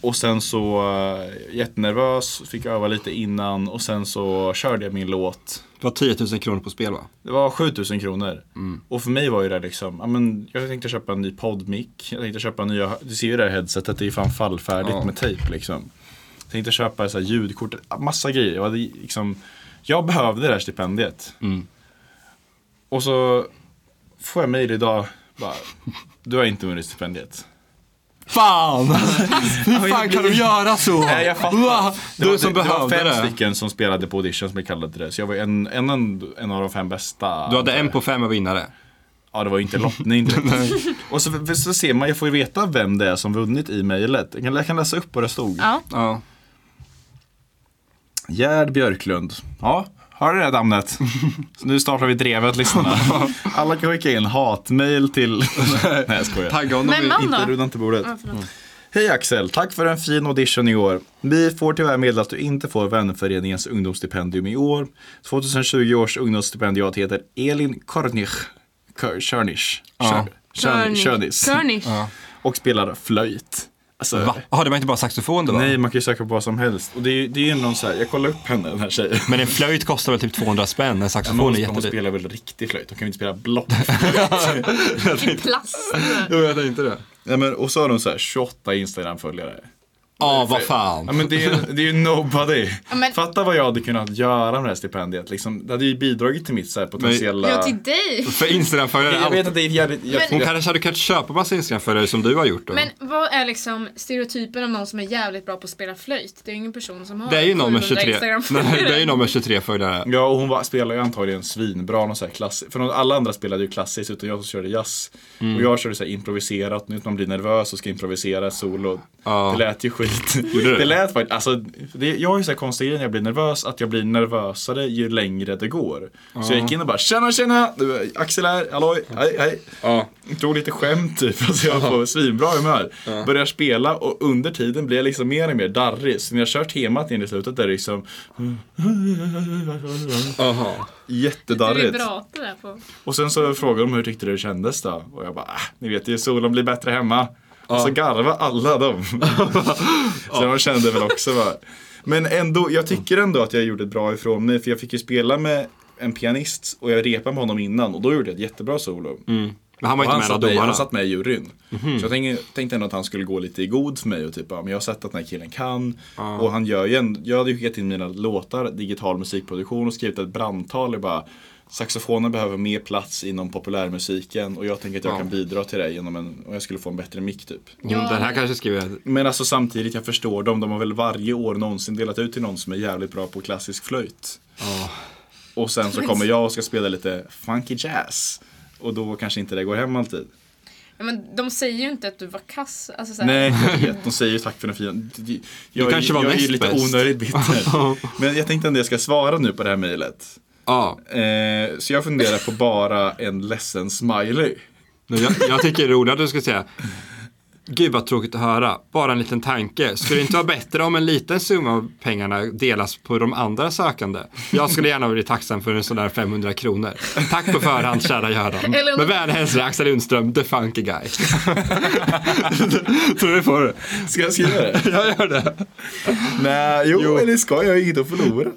A: Och sen så eh, jättenervös, fick öva lite innan och sen så körde jag min låt.
B: Det var 10 000 kronor på spel va?
A: Det var 7000 kronor.
B: Mm.
A: Och för mig var ju det liksom, ja, men jag tänkte köpa en ny poddmick. Jag tänkte köpa nya, du ser ju det här headsetet, det är ju fan fallfärdigt
B: Ja.
A: med tejp liksom. Jag tänkte köpa så här ljudkort, massa grejer. Jag, hade liksom, jag behövde det här stipendiet.
B: Mm.
A: Och så får jag mejl idag, bara, du har inte vunnit stipendiet.
B: Fan! [LAUGHS] Hur fan kan du göra så?
A: Nej jag fattar. Det
B: Du
A: var-
B: som
A: det, det var
B: behövde
A: fem
B: det.
A: stycken som spelade på audition som jag kallade det. Så jag var en, en, en, en av de fem bästa.
B: Du hade en på fem av vinnare.
A: Ja, det var ju inte lottning. [LAUGHS] och så, så ser man, jag får ju veta vem det är som vunnit i mejlet. Jag kan, jag kan läsa upp vad det stod.
C: Ja.
B: Ja.
A: Gerd Björklund. Ja, har du det namnet? Så nu startar vi drevet [LAUGHS] lyssnarna. Alla kan skicka in hatmejl till... [LAUGHS] Nej, jag skojar.
B: Tagga honom
C: Men
B: i-
C: man
A: Inte
C: då?
A: runda inte bordet. Mm.
C: Ja, förlåt.
A: Hej Axel, tack för en fin audition i år. Vi får tyvärr meddela att du inte får Vänföreningens ungdomsstipendium i år. 2020 års ungdomsstipendiat heter Elin Kornich. Kör- Körnisch.
B: Ja.
A: Körn- Körnis.
C: Körnish.
A: Och spelar flöjt. Alltså,
B: Va? Jaha, det var inte bara saxofon det var?
A: Nej, man kan ju söka på vad som helst. Och det är ju det är ju någon så här, jag kollar upp henne, den här tjejen.
B: Men en flöjt kostar väl typ 200 spänn, en
A: Men hon,
B: saxofon är
A: hon
B: jättedyr.
A: spelar väl riktig flöjt, hon kan ju inte spela block.
C: I plast.
B: [LAUGHS] Jo, jag tänkte det.
A: [LAUGHS] Nej, men, och så har hon så här 28 Instagram-följare.
B: Ja, vad
A: Ja,
B: fan.
A: men det, är, det är ju nobody.
C: Ja, men-
A: Fatta vad jag hade kunnat göra med det här stipendiet. Liksom, det hade ju bidragit till mitt så här potentiella...
C: Ja, till dig.
B: För Instagram-följare,
A: jag vet
B: allt.
A: att det är jävligt... Jag,
B: Hon
A: jag,
B: kanske hade kunnat köpa massa Instagram-följare som du har gjort då.
C: Men vad är liksom stereotypen om någon som är jävligt bra på att spela flöjt? Det är ju ingen person som har
B: det är ju någon med
C: 700
B: 23 [LAUGHS] Nej,
C: Instagram-följare.
B: det är ju någon med 23 följare.
A: ja, och hon var, spelade ju antagligen svinbra. Någon så här klass, för någon, alla andra spelade ju klassiskt, utan jag som körde jazz.
B: Mm.
A: Och jag körde så här improviserat. Nu när man blir nervös och ska improvisera ett solo.
B: Ja.
A: Det lät ju skit.
B: Gjorde det?
A: Det lät faktiskt... Alltså, det, jag har ju så här konstiga grejer när jag blir nervös. Att jag blir nervösare ju längre det går. Så jag gick in och bara tjena tjena! Du, är Axel här, halloj, hej hej.
B: Ja.
A: drog lite skämt typ, [LAUGHS] alltså jag var på svinbra humör. Börjar spela och under tiden blir jag liksom mer och mer darrig. Så när jag kör temat in i slutet där är det liksom
B: Aha.
C: Du är
A: jättedarrigt.
C: bra på det där på.
A: Och sen så frågade de hur tyckte du det kändes då? Och jag bara, äh, ni vet ju solen blir bättre hemma. Och så garva alla dem. så de kände väl också va. Men ändå, jag tycker ändå att jag gjorde ett bra ifrån mig. För jag fick ju spela med en pianist och jag repade med honom innan och då gjorde jag ett jättebra solo.
B: Men han var
A: Och
B: inte
A: han, satt
B: med av
A: med,
B: domarna. Mhm.
A: han satt med i juryn. Så jag tänkte, tänkte ändå att han skulle gå lite i god för mig och typ, ja, men jag har sett att den här killen kan. Och han gör ju en, jag hade ju skickat in mina låtar, digital musikproduktion och skrivit ett brandtal och bara Saxofonen behöver mer plats inom populärmusiken och jag tänker att jag
B: Ja.
A: kan bidra till det genom en, om jag skulle få en bättre mick typ.
B: Mm, Den här kanske skriver jag.
A: Men alltså samtidigt, jag förstår dem, de har väl varje år någonsin delat ut till någon som är jävligt bra på klassisk flöjt. Och sen så kommer jag och ska spela lite funky jazz. Och då kanske inte det går hem alltid.
C: Ja, men de säger ju inte att du var kass. Alltså, så här,
A: Nej, [LAUGHS] jag vet. De säger ju tack för den fina. Jag, är-
B: kanske var
A: jag är ju
B: näst
A: lite
B: bäst.
A: onödigt
B: [LAUGHS]
A: bitter. Men jag tänkte ändå jag ska svara nu på det här mejlet.
B: Ja.
A: Eh, så jag funderar på bara en ledsen smiley.
B: Men jag, jag tycker det är roligt att du ska säga Gud vad tråkigt att höra, bara en liten tanke. Skulle det inte vara bättre om en liten summa av pengarna delas på de andra sökande? Jag skulle gärna bli tacksam för en sån där 500 kronor. Tack på förhand kära Göran.
C: Eller om-
B: Med vänliga hälsningar Axel Lundström, the funky guy. [LAUGHS] [LAUGHS] Tror du på det?
A: Ska jag skriva det?
B: [LAUGHS] Jag gör det.
A: Nej, jo,
B: Jo.
A: eller ska jag? inte
B: [LAUGHS]
A: förlora.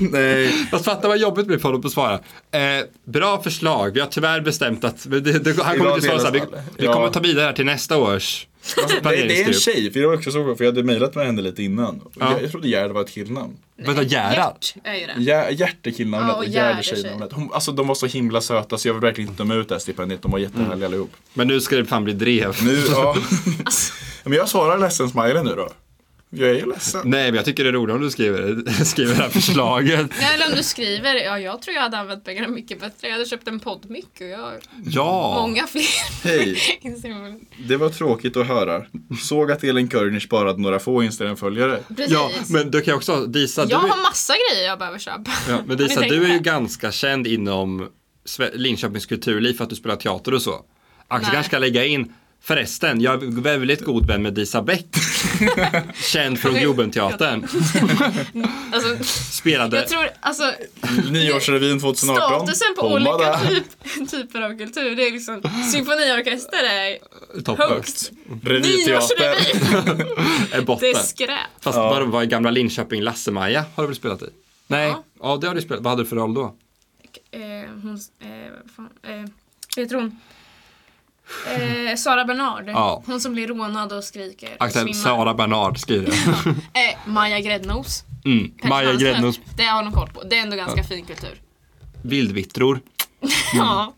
A: Nej.
B: Fast fatta vad jobbigt det blir för honom att svara. Eh, bra förslag, vi har tyvärr bestämt att men det, det, han kommer
A: Idag
B: inte svara så här. Vi,
A: delas alla.
B: vi
A: Ja.
B: kommer ta vidare här till nästa års
A: Det, det är en
B: planeringsgrupp.
A: tjej, för jag var också så för jag hade mejlat med henne lite innan. Och
B: Ja.
A: Jag, jag trodde Gerd var ett killnamn.
B: Vänta, Gerhard?
C: Gert är ju det.
A: Ja, Gert är killnamnet
C: Ja, och
A: och
C: Gerd
A: Gerd
C: är
A: är
C: tjej.
A: tjejnamnet. Hon, alltså de var så himla söta så jag vill verkligen inte döma ut det här stipendiet. De var jättehärliga
B: Mm.
A: allihop.
B: Men nu ska det fan bli drev.
A: Nu, ja. Men jag svarar ledsen smiley nu då. Jag är ju ledsen.
B: Nej, men jag tycker det är roligt om du skriver, [LAUGHS] skriver det här förslaget.
C: [LAUGHS] Nej, eller om du skriver, ja jag tror jag hade använt pengarna mycket bättre. Jag hade köpt en poddmick och jag har
B: Ja,
C: många fler.
A: Hej,
C: [LAUGHS] Instagram-
A: det var tråkigt att höra. Såg att Elin Körnisch bara hade några få Instagram-följare.
C: Precis.
B: ja men du kan jag också, Disa, du,
C: jag
B: är-
C: har massa grejer jag behöver köpa.
B: ja, men
C: Har ni
B: Disa,
C: tänkt
B: du är
C: på
B: ju
C: det?
B: ganska känd inom Sve- Linköpings kulturliv för att du spelar teater och så. Axel
C: Nej.
B: kanske ska lägga in, förresten, jag är väldigt god vän med Disa Bäck. känd från Globenteatern.
C: alltså,
B: Spelade,
C: Jag tror, alltså
A: Nyårsrevyn 2018.
C: statusen på
A: Hon var
C: olika
A: där.
C: typ, [LAUGHS] typer av kultur, det är liksom symfoniorkester är högst.
B: topphögst,
A: [LAUGHS]
B: [LAUGHS]
A: Revyteater.
C: Nyårsrevy,
B: är
C: det
B: botten.
C: är skräp.
B: eh, Fast vad var i gamla Linköping, Lasse-Maja har du väl spelat i? Nej,
C: Ja.
B: ja det har du spelat. Vad hade du för roll då?
C: eh, hon, eh, vad fan, eh, vad heter hon? Eh, Sara Bernard.
B: Ja.
C: Hon som blir rånad och skriker. och
B: Axel,
C: svimmar.
B: Sara Bernard skriver.
C: [LAUGHS] Eh, Maja Gräddnos.
B: Mm. Maja
C: Hans
B: Gräddnos Mm.
C: Höns. Det har hon koll på. Det är ändå ganska fin kultur.
B: vildvittror.
C: ja.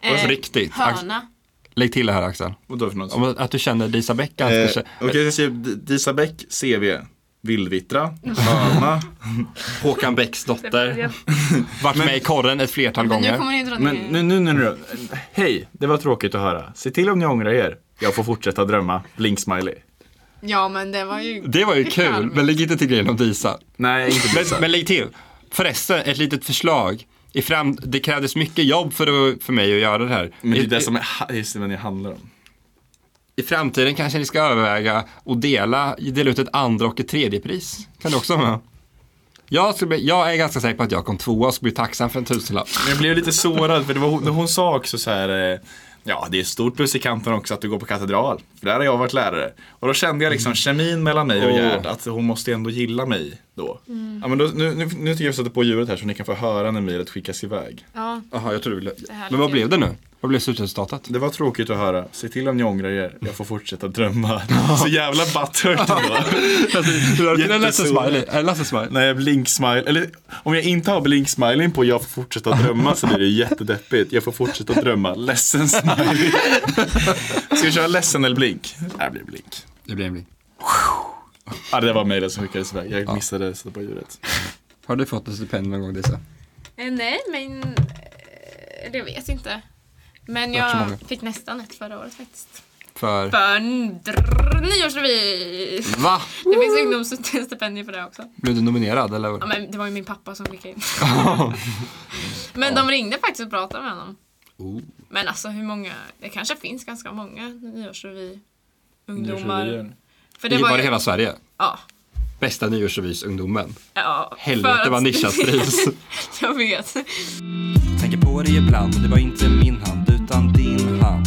C: Eh,
B: Alltså, riktigt.
C: Hörna.
B: Lägg till det här Axel.
A: Vadå för något?
B: Om att du känner Disa Beck
A: Eh,
B: ganska...
A: Okej, jag skriver D- Disa Bäck, CV. Vildvittra, [LAUGHS] Hörna.
B: Håkan Bäcks
C: [LAUGHS]
B: dotter. Varit med i korren ett flertal
C: Men nu
B: gånger.
C: kommer ni dra
A: Men
C: ner.
A: nu, nu, nu, nu. Hej, det var tråkigt att höra. Se till om ni ångrar er. Jag får fortsätta drömma. Blink-smiley.
C: Ja, men det var ju...
B: Det var ju kul,
C: charmigt.
B: men lägg inte till grejen om Disa.
A: Nej, inte
B: Men,
A: Lisa.
B: men lägg till, förresten, ett litet förslag. I fram, det krävdes mycket jobb för, att, för mig att göra det här.
A: Men det är
B: I,
A: det som är, just det, men det handlar om.
B: I framtiden kanske ni ska överväga att dela, dela ut ett andra och ett tredje pris. Kan du också vara med? Jag, skulle, bli- jag är ganska säker på att jag kom tvåa och skulle bli tacksam för en tusenlapp.
A: Men jag blev lite sårad för det var hon, hon sa också så här eh, Ja, det är stort plus i kanten också att du går på katedral. För där har jag varit lärare. Och då kände jag liksom kemin mellan mig och
B: Åh.
A: Gerd, att hon måste ändå gilla mig då. Ja, men då nu, nu, nu tycker jag vi sätter på ljudet här så ni kan få höra när mejlet skickas iväg.
C: Ja,
B: Jaha, jag tror du ville...
C: här
B: Men vad
C: låter ju-
B: blev det nu? Vad blev [LAUGHS] slutresultatet?
A: Det var tråkigt att höra. Se till om ni ångrar er. Jag får fortsätta drömma. Så jävla butthurt ändå.
B: Är
A: Jättesårad.
B: Lasse Smiley? Är det Lasse Smiley?
A: Nej, blink-smile. Eller om jag inte har blink-smiling på jag får fortsätta drömma så blir det jättedeppigt. Jag får fortsätta drömma. Ledsen smiley. [LAUGHS] Ska vi köra ledsen eller blink? Det här blir blink.
B: Det blir en blink.
A: Ja, det var mejlet som skickades iväg. Jag missade att sätta på ljudet.
B: Har du fått ett stipendium någon gång Disa?
C: Eh, Nej, men eh, det vet jag inte. Men
B: har varit så
C: jag
B: många.
C: fick nästan ett förra året faktiskt.
B: För?
C: För drr, nyårsrevy!
B: Va?
C: Det finns ungdomsstipendier för det också.
B: Blev du nominerad eller?
C: Ja, men det var ju min pappa som skickade in. men de ringde faktiskt och pratade med honom.
B: [LAUGHS] Oh.
C: Men alltså hur många, det kanske finns ganska många nyårsrevy-ungdomar. För
B: Det
C: det
B: var,
C: var
B: det
C: ju,
B: hela Sverige?
C: ja,
B: Bästa nyårsrevysungdomen.
C: ja. för
B: Helvete
C: att-
B: vad nischat pris.
C: [LAUGHS] jag vet.
K: Tänker på det ibland, det var inte min hand utan din hand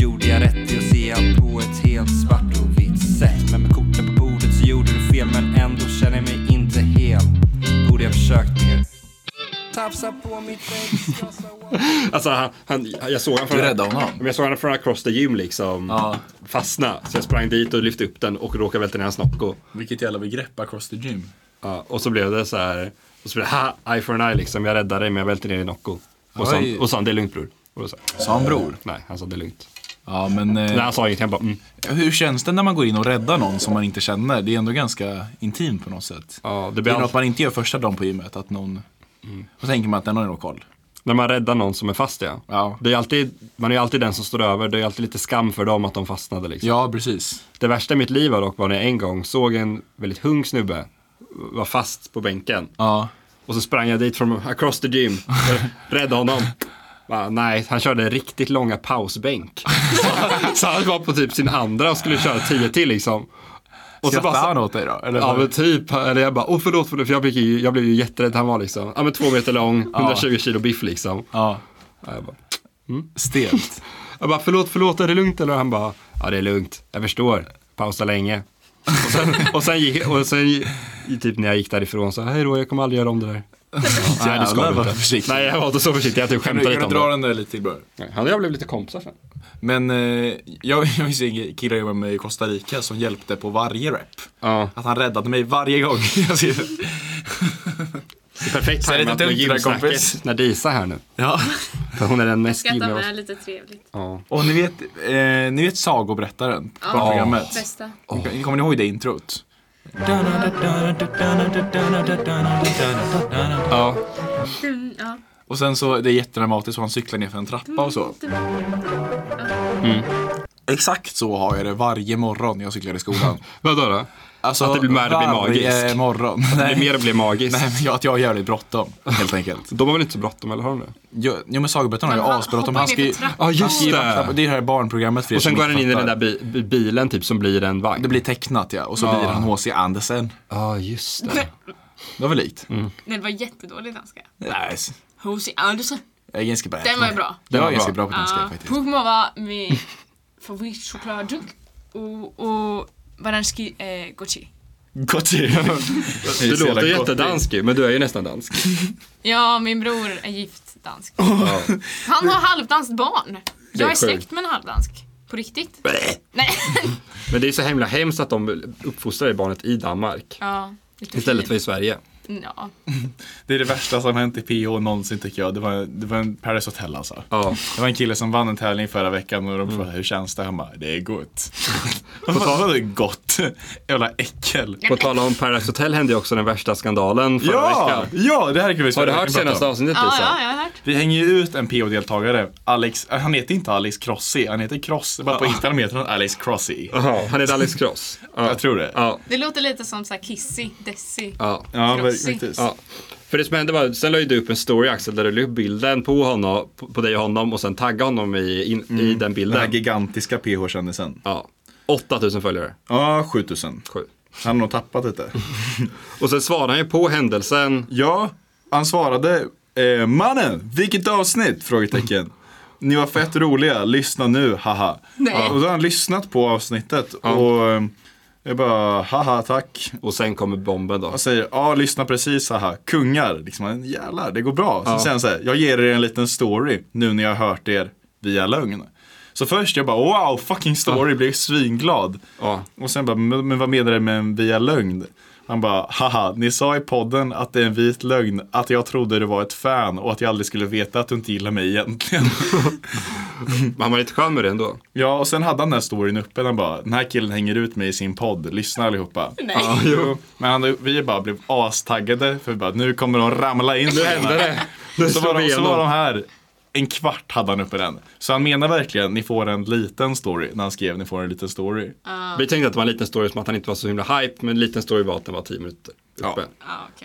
K: Gjorde jag rätt i att se allt på ett helt svart och vitt sätt Men med korten på bordet så gjorde du fel men ändå känner jag mig inte hel Borde jag försökt mer
F: Tafsa på mitt ex, jag sa what the
B: Alltså han, han, jag såg han från...
L: Du räddade honom.
B: Men Jag såg han från across the gym liksom.
L: Ja.
B: Fastna. Så jag sprang dit och lyfte upp den och råkade välta ner hans nocco.
A: Vilket jävla begrepp, across the gym.
B: Ja, och så blev det så här. Och så blev det ha, eye for an eye liksom. Jag räddade dig men jag välte ner din nocco. Och så,
L: Oj.
B: och så han det är lugnt bror. Och då sa jag,
L: Sa han bror?
B: Nej, han sa det är lugnt.
L: Ja, men
B: Nej,
L: eh,
B: han sa ingenting. Han bara mm.
L: hur känns det när man går in och räddar någon som man inte känner? Det är ändå ganska intimt på något sätt.
B: Ja, det
L: Det
B: blir
L: är
B: all...
L: något man inte gör första dagen på gymmet, att någon...
A: Mm.
L: Och så tänker man att den har ju nog koll.
B: När man räddar någon som är fast ja.
L: Ja.
B: Det är alltid, man är ju alltid den som står över. Det är alltid lite skam för dem att de fastnade liksom.
L: Ja, precis.
B: Det värsta i mitt liv var dock var när jag en gång såg en väldigt hung snubbe var fast på bänken.
L: Ja.
B: Och så sprang jag dit från across the gym. Räddade honom. Bara, nej, han körde riktigt långa pausbänk. Så, så han var på typ sin andra och skulle köra tio till liksom. Och så
L: Skrattar han
B: bara,
L: åt dig då? Eller?
B: ja men typ, eller jag bara, åh förlåt, förlåt, för jag, fick ju, jag blev ju jätterädd. Han var liksom, ja men två meter lång, 120 kilo biff liksom.
L: ja.
B: Ja, jag, bara,
L: Stelt.
B: jag bara, förlåt, förlåt, är det lugnt eller? Han bara, ja det är lugnt, jag förstår, pausa länge. Och sen, och sen, gick, och sen gick- typ när jag gick därifrån så, hej då, jag kommer aldrig
L: [LAUGHS]
B: göra om det där.
L: Nej,
B: det ska du inte.
L: försiktigt.
B: Nej, jag var inte så försiktig. Jag typ
L: Kan du,
B: skämtade
L: kan
B: lite
L: du
B: om
L: dra
B: det.
L: den där lite till bara?
B: Nej, Han och jag blev lite kompisar sen.
L: Men eh, jag, [LAUGHS] jag visste en kille jag var med i Costa Rica som hjälpte på varje rep.
B: Ja,
L: Att han räddade mig varje gång. [LAUGHS] Jag ser-
B: det är perfekt
L: Så är det
B: tajmat
L: lite
B: med
L: dumt det där,
B: gymsnacket
L: kompis.
B: när Disa är här nu.
L: ja.
B: För hon är den mest
C: Skratta
B: gymmiga av oss.
C: med lite trevligt.
B: Ja.
L: Och ni vet, eh, ni vet sagoberättaren på programmet?
C: Bästa.
L: Ni- Kommer ni ihåg det introt?
B: ja.
C: Mm, ja.
L: Och sen så, det är jättedramatiskt och han cyklar ner för en trappa och
C: Mm.
L: så. Exakt så har jag det varje morgon när jag cyklar i
C: [LAUGHS]
L: skolan.
B: Vadå då?
L: Alltså,
B: Att det blir mer- det blir
L: varje
B: magiskt.
L: morgon.
B: Det
L: Nej,
B: blir mer och blir magiskt.
L: nej, men jag, att jag har jävligt bråttom, helt enkelt.
B: De har väl inte så bråttom, eller har de det?
L: [LAUGHS] Jo, jo men sagoberättaren har ju
C: Men han
L: asbråttom.
C: hoppar
L: Han
C: ner
L: ska ju...
C: för trappan.
B: Ja, just
L: Det
A: Typ.
L: är det här barnprogrammet för er
B: Och sen
L: som
B: går
L: inte
B: han in i den
L: fattar.
B: där bi- bi- bilen typ som blir en vagn.
L: Det blir tecknat ja, och så blir han H.C. Andersen.
B: Ja, just det.
L: Det var väl likt?
A: Mm.
C: Nej, det var jättedålig danska.
L: Nej, s-
C: H.C. Andersen.
L: jag är ganska bra.
C: Den var ju bra.
L: Jag
B: var
L: är ganska
B: bra.
L: bra på danska faktiskt.
C: Pugmova [LAUGHS] med favoritchokladdunk och, och Baranski eh, Gochi.
L: [LAUGHS]
A: Gotti.
B: Du låter jättedansk ju, men du är ju nästan dansk.
C: Ja, min bror är gift dansk. Han har halvdanskt barn.
B: Det är
C: Jag är
B: sjukt.
C: släkt med en halvdansk. På riktigt. Nej. [LAUGHS]
B: Men det är så himla hemskt att de uppfostrar barnet i Danmark.
C: Ja, lite
B: Istället
C: fin.
B: för i Sverige.
C: Ja.
A: Det är det värsta som hänt i PH någonsin tycker jag. Det var, det var en Paradise Hotel alltså.
B: Ja.
A: Det var en kille som vann en tävling förra veckan och de
L: Mm.
A: frågade hur känns det? Han bara, det
L: [LAUGHS]
A: är gott. Vad fan är det gott? [LAUGHS] Jävla äckel.
B: På tal om Paradise Hotel hände ju också den värsta skandalen förra
A: Ja,
B: veckan.
A: ja, det här kan vi
B: Har du
A: verkligen
B: hört
A: prata om.
B: senaste avsnittet
C: Ja,
B: Lisa?
C: ja, jag har hört.
A: Vi hänger ju ut en PO-deltagare, Alex, äh, han heter inte Alex Crossy, han heter Cross, bara på Instagram heter han Alex Crossy.
B: Jaha, han är Alex Cross. Ja.
A: Jag tror det.
B: Ja,
C: Det låter lite som så här kissy, dessy.
B: ja.
A: Ja,
C: Crossy.
A: faktiskt.
B: ja. För det som hände var, sen la ju du upp en story Axel där du la upp bilden på honom, på- på dig och honom och sen taggade honom i, in, i den
A: Den här
B: bilden.
A: gigantiska PH-kändisen.
B: Ja. 8000 följare.
A: Ja, 7000.
B: Sju.
A: Han har nog tappat lite.
B: Och sen svarade han ju på händelsen.
A: Ja, han svarade eh, Mannen, vilket avsnitt? Frågetecken. Ni var fett roliga, lyssna nu, haha.
C: Nej.
A: Och då har han lyssnat på avsnittet och eh, jag bara, haha tack.
B: Och sen kommer bomben då.
A: Och säger, ja lyssna precis haha, kungar. Liksom, "Men jävlar, det går bra. Sen säger han så här, jag ger er en liten story nu när jag har hört er via lögn. Så först jag bara, wow, fucking story, blev svinglad.
B: Ja.
A: Och sen bara, men men vad menar du med en via lögn? Han bara, haha, ni sa i podden att det är en vit lögn, att jag trodde du var ett fan och att jag aldrig skulle veta att du inte gillar mig egentligen. [LAUGHS]
B: Men han var lite skön med det ändå.
A: ja, och sen hade han den här storyn uppe, han bara, den här killen hänger ut mig i sin podd, lyssna allihopa.
C: Nej.
A: Ja, jo. Men han, vi bara blev astaggade, för vi bara, nu kommer de ramla in. Nu hände det.
B: Nu
A: Så
B: slår
A: var,
B: vi
A: de, så
B: igenom.
A: var de här. En kvart hade han uppe den. Så han menar verkligen, ni får en liten story. När han skrev, ni får en liten story.
B: Vi tänkte att det var en liten story som att han inte var så himla hype, men en liten story var att den var 10 minuter uppe.
C: Ja, okej.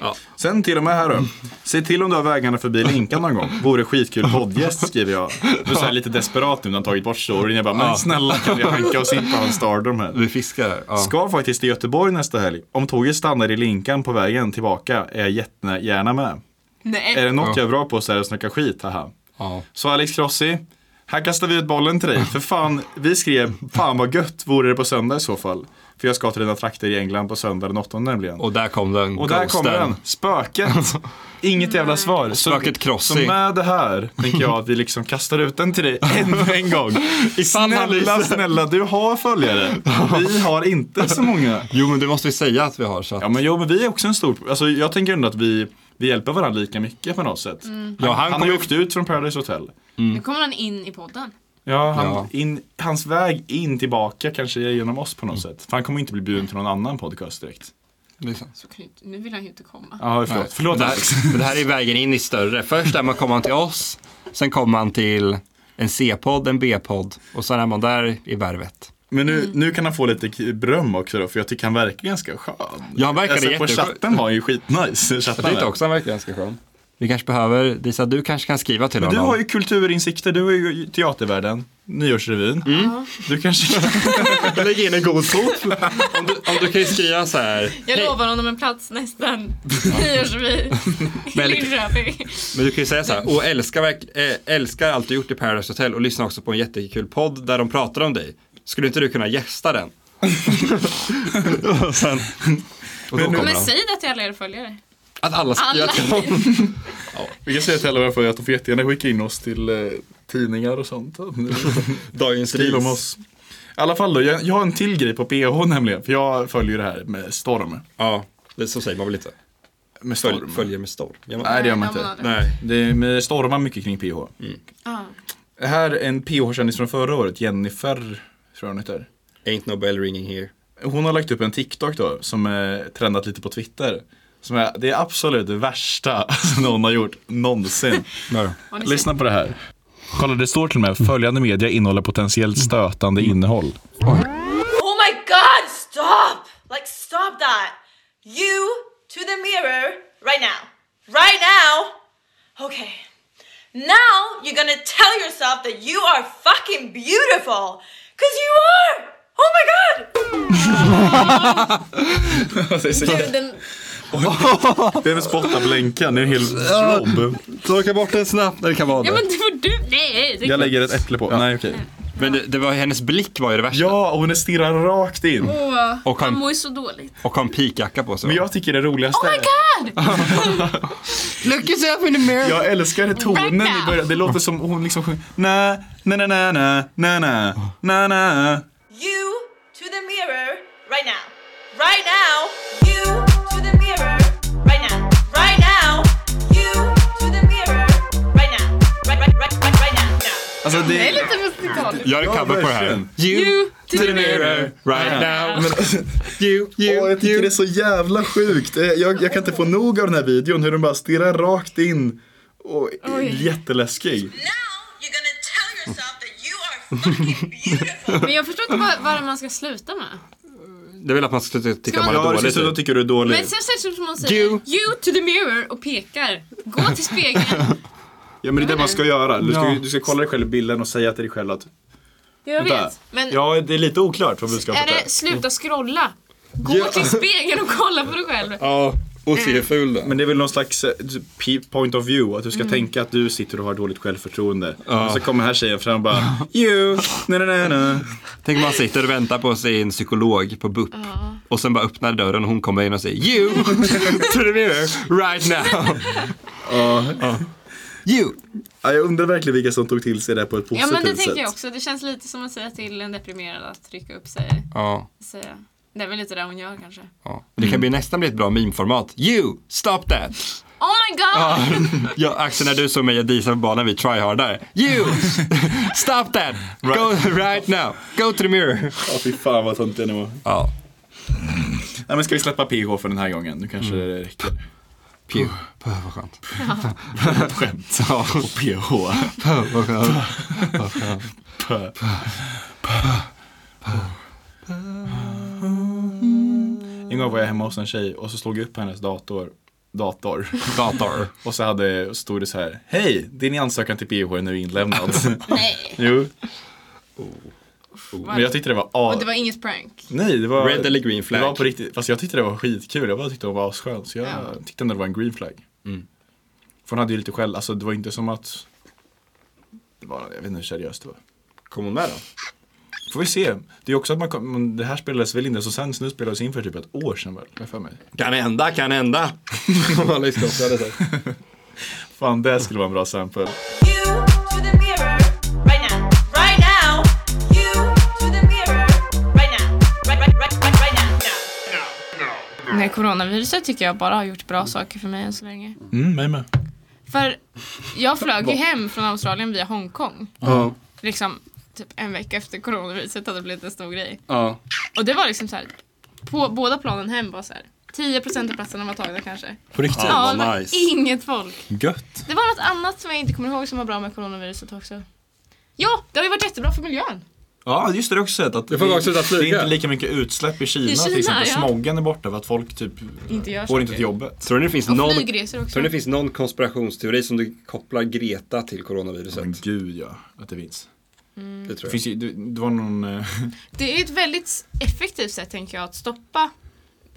B: Ja.
A: Sen till och med här då. Se till om du har vägarna förbi Linkan någon gång. Vore skitkul poddgäst skriver jag. Nu är så här lite desperat nu när han tagit bort storyn. Jag bara, men snälla kan vi skänka oss in på hans stardom här.
B: Vi fiskar. Ja.
A: Ska faktiskt till Göteborg nästa helg. Om tåget stannar i Linkan på vägen tillbaka är jag jättegärna med.
C: Nej.
A: Är det något jag är bra på så är det att snacka skit, haha.
B: Ja.
A: Så Alex Crossi, här kastar vi ut bollen till
B: [LAUGHS]
A: dig. För fan, vi skrev, fan vad gött vore det på söndag i så fall. För jag ska till dina trakter i England på söndag den 8 nämligen. Och,
B: Och där kom den.
A: där
B: ghosten.
A: kommer den, spöket.
B: [LAUGHS]
A: Inget jävla svar. Så-
B: spöket
A: Så
B: Crossi.
A: med det här tänker jag att vi liksom kastar ut den
B: [LAUGHS]
A: till dig ännu en gång. Snälla, snälla, du har följare. Vi har inte så många.
B: Jo men du måste ju säga att vi har så att...
A: Ja men, jo, men vi är också en stor, alltså jag tänker ändå att vi, vi hjälper varandra lika mycket på något sätt.
B: Ja, han,
A: Han har
B: kommer
A: ju
B: ju...
A: åkt ut från Paradise Hotel.
C: Nu kommer han in i podden.
A: Ja, han,
B: Ja.
A: In, hans väg in tillbaka kanske är genom oss på något
B: Mm.
A: sätt. För han kommer inte bli bjuden till någon annan podcast direkt.
C: Så kan ju inte, nu vill han ju inte komma.
A: Ja, förlåt. Förlåt
B: Liksom. Det,
A: Alex. [LAUGHS]
B: här, det här är vägen in i större. Först är man kommer man till oss, sen kommer man till en C-podd, en B-podd och sen är man där i värvet.
A: Men nu, nu kan han få lite k- beröm också då, för jag tycker han verkar ganska skön.
B: Ja, han verkade
A: jag ser på
B: jätteskön.
A: chatten var han ju skitnice. Chatten
B: Jag tyckte
A: där.
B: också han verkar ganska skön. Vi kanske behöver, Lisa du kanske kan skriva till
A: Du
B: honom.
A: har ju kulturinsikter, du är ju i teatervärlden, Nyårsrevyn.
B: Mm.
A: Du kanske [LAUGHS]
B: Lägg in en god fot. om, du, om du kan ju skriva så här.
C: Jag
B: "Hej."
C: lovar honom en
B: [LAUGHS]
C: plats nästan nyårsrevy i Linköping.
B: Men du kan ju säga så här, och älskar, verk- eh, älskar allt du gjort i Paradise Hotel och lyssnar också på en jättekul podd där de pratar om dig. Skulle inte du kunna gästa den? och sen, och då kommer
C: Men
B: han.
C: säg det till alla er följare.
B: Att alla skriver
C: Alla.
B: till honom.
C: [LAUGHS]
A: Vi kan säga till alla i alla fall att de får jättegärna skicka in oss till eh, tidningar och sånt.
B: Dagens
A: Skriv om
B: ris.
A: oss. I alla fall då, jag, jag har en till grej på PH nämligen, för jag följer det här med storm.
B: Ja, det, så säger man väl inte?
A: Med storm.
B: Följ, följer med storm. Ja, man,
A: Nej det gör man
C: Nej, det gör
A: inte.
C: man aldrig.
B: nej.
A: Det, men det stormar mycket kring PH.
B: Mm.
C: Ja.
A: Det Här är en PH-kändis från förra året, Jennifer, tror jag hon heter.
B: Ain't no bell ringing here.
A: Hon har lagt upp en TikTok då, som är trendat lite på Twitter. Som är det är absolut det värsta [LAUGHS] som någon har gjort [LAUGHS] någonsin.
C: Har ni
A: Lyssna på det här. Kolla det står till och med följande media innehåller potentiellt stötande innehåll.
M: Oh my god, stop! Like, stop that! You to the mirror right now. Right now! Okay. Now you're gonna tell yourself that you are fucking beautiful! Cause you are! Oh my god!
C: sett den?
A: Vem spottar blänkan? Det är en hel slob.
B: Torka bort den snabbt när det kan vara
C: Ja
B: det.
C: men det var du. Nej! Det
A: Jag lägger ett äpple på. Nej okej.
B: Men det, det var, hennes blick var ju det värsta.
A: Ja, och hon stirrar rakt in.
B: Och
C: han
B: han,
C: mår ju så dåligt.
B: och han pikjacka på sig.
A: Men jag tycker det
B: Oh
A: roligaste är...
C: Oh God!
B: Look yourself in the mirror.
A: Jag älskar tonen
C: now.
A: i början. Det låter som hon liksom sjunger na na na na na na na na na
M: You to the mirror right now. Right now! You to the mirror right now.
A: Alltså,
B: Gör en cover på det här.
C: You to the mirror,
B: right now. [LAUGHS] You,
A: Åh,
B: you,
A: jag tycker det är
B: you.
A: så jävla sjukt. Eh, Jag, jag kan inte få nog av den här videon hur den bara stirrar rakt in. Och är
C: Oj.
A: jätteläskig.
M: Now you're gonna tell yourself that you are fucking beautiful.
C: Men jag förstår inte vad, vad man ska sluta med.
B: Det vill att man ska sluta tycka
C: Ska
B: man
C: man-
A: Ja,
B: är
A: det
B: dålig.
A: ser ut
B: typ.
A: att tycker du är dålig.
C: Men sen känns det som att man säger
B: You.
C: you. to the mirror och pekar. Gå till spegeln.
A: Ja, men det är det man ska göra. Du ska,
B: Ja.
A: du ska kolla dig själv i bilden och säga till dig själv att...
C: Jag
A: Vänta.
C: vet. Men
A: Ja, det är lite oklart vad
C: är
A: budskapet är.
C: det sluta scrolla? Gå
B: Ja.
C: till spegeln och kolla på dig själv.
B: Ja, och se hur ful den
A: Men det är väl någon slags eh, p- point of view, att du ska
C: Mm.
A: tänka att du sitter och har dåligt självförtroende. Och så kommer den här tjejen fram och bara you, na na na na.
B: Tänk om man sitter och väntar på sin psykolog på BUP och sen bara öppnar dörren och hon kommer in och säger You [LAUGHS] to the mirror right now. Ja. You.
A: Ja, jag undrar verkligen vilka som tog till sig det här på ett
C: Ja
A: positivt
C: men det
A: sätt.
C: tänker jag också. Det känns lite som att säga till en deprimerad att trycka upp sig.
B: Ja,
C: Säga. Det är väl lite det hon gör kanske.
B: ja. Det kan bli nästan bli ett bra meme-format. You, stop that.
C: Oh my god!
B: Ja, Axel, när du såg mig och Disa på banan, vi tryhardar. [LAUGHS] You, stop that. Go right now. Go to the mirror.
A: Ja, fy fan vad töntiga ni var.
B: Ja,
A: Nej, men ska vi släppa PH för den här gången? Nu kanske
B: Mm.
A: det räcker.
B: [LAUGHS] pew. Puh, vad skönt.
A: [LAUGHS] Skämt.
B: Ja,
A: Och PH.
B: [LAUGHS] puh, vad skönt.
A: En gång var jag hemma hos en tjej och så slog jag upp hennes dator. Dator.
B: Dator.
A: Och så, hade, och så stod det så här. Hej, din ansökan till PH är nu
B: [LAUGHS]
A: inlämnad.
C: Nej.
A: jo. Men jag tyckte det var a-
C: Och det var inget prank.
A: Nej, det var...
B: Red eller green flag?
A: Det var på riktigt. Fast jag tyckte det var skitkul. Jag bara tyckte hon var asskön. Så jag
C: Ja.
A: tyckte ändå det var en green flag.
B: Mm.
A: För hon hade ju lite skäll. Alltså det var inte som att... Det var, jag vet inte hur seriöst det var.
B: Kom hon med då?
A: Får vi se. Det är också att man kom, men det här spelades väl in, så sen nu spelades in för typ ett år sedan väl? har jag för
B: [LAUGHS]
A: mig.
B: Kan hända, kan hända.
A: [LAUGHS] Fan, det skulle vara en bra sample.
M: You to the mirror right now. Right now. You to the mirror right now. Right, right, right, right, right now. Now.
C: Nej, coronaviruset tycker jag bara har gjort
B: Mm.
C: bra saker för mig än så länge.
A: Mm, mig med.
C: För jag flög ju hem från Australien via Hongkong.
B: Ja,
C: Liksom typ en vecka efter coronaviruset hade det blivit en stor grej.
B: ja.
C: Och det var liksom så här. På båda planen hem var så här. 10% av platserna var tagna kanske.
A: På riktigt?
B: Ja, vad
C: det var
B: nice.
C: inget folk.
A: Gött.
C: Det var något annat som jag inte kommer ihåg som var bra med coronaviruset också. Ja, det har ju varit jättebra för miljön.
A: Ja, just det. Det har jag också sett. Att
B: Det får folk sluta flyga.
A: Det är inte lika mycket utsläpp i Kina,
C: I Kina,
A: till exempel.
C: ja.
A: Smoggen är borta för att folk typ
C: Inte gör
A: går
C: saker.
A: inte till jobbet.
B: Tror ni det finns
C: Och
B: någon...
C: flygresor också.
B: Tror ni det finns någon konspirationsteori som du kopplar Greta till coronaviruset?
A: Men gud ja, att det finns.
B: Det tror
A: Det,
B: jag.
A: Mm. finns ju, det, det var någon... eh, [LAUGHS]
C: Det är ett väldigt effektivt sätt tänker jag att stoppa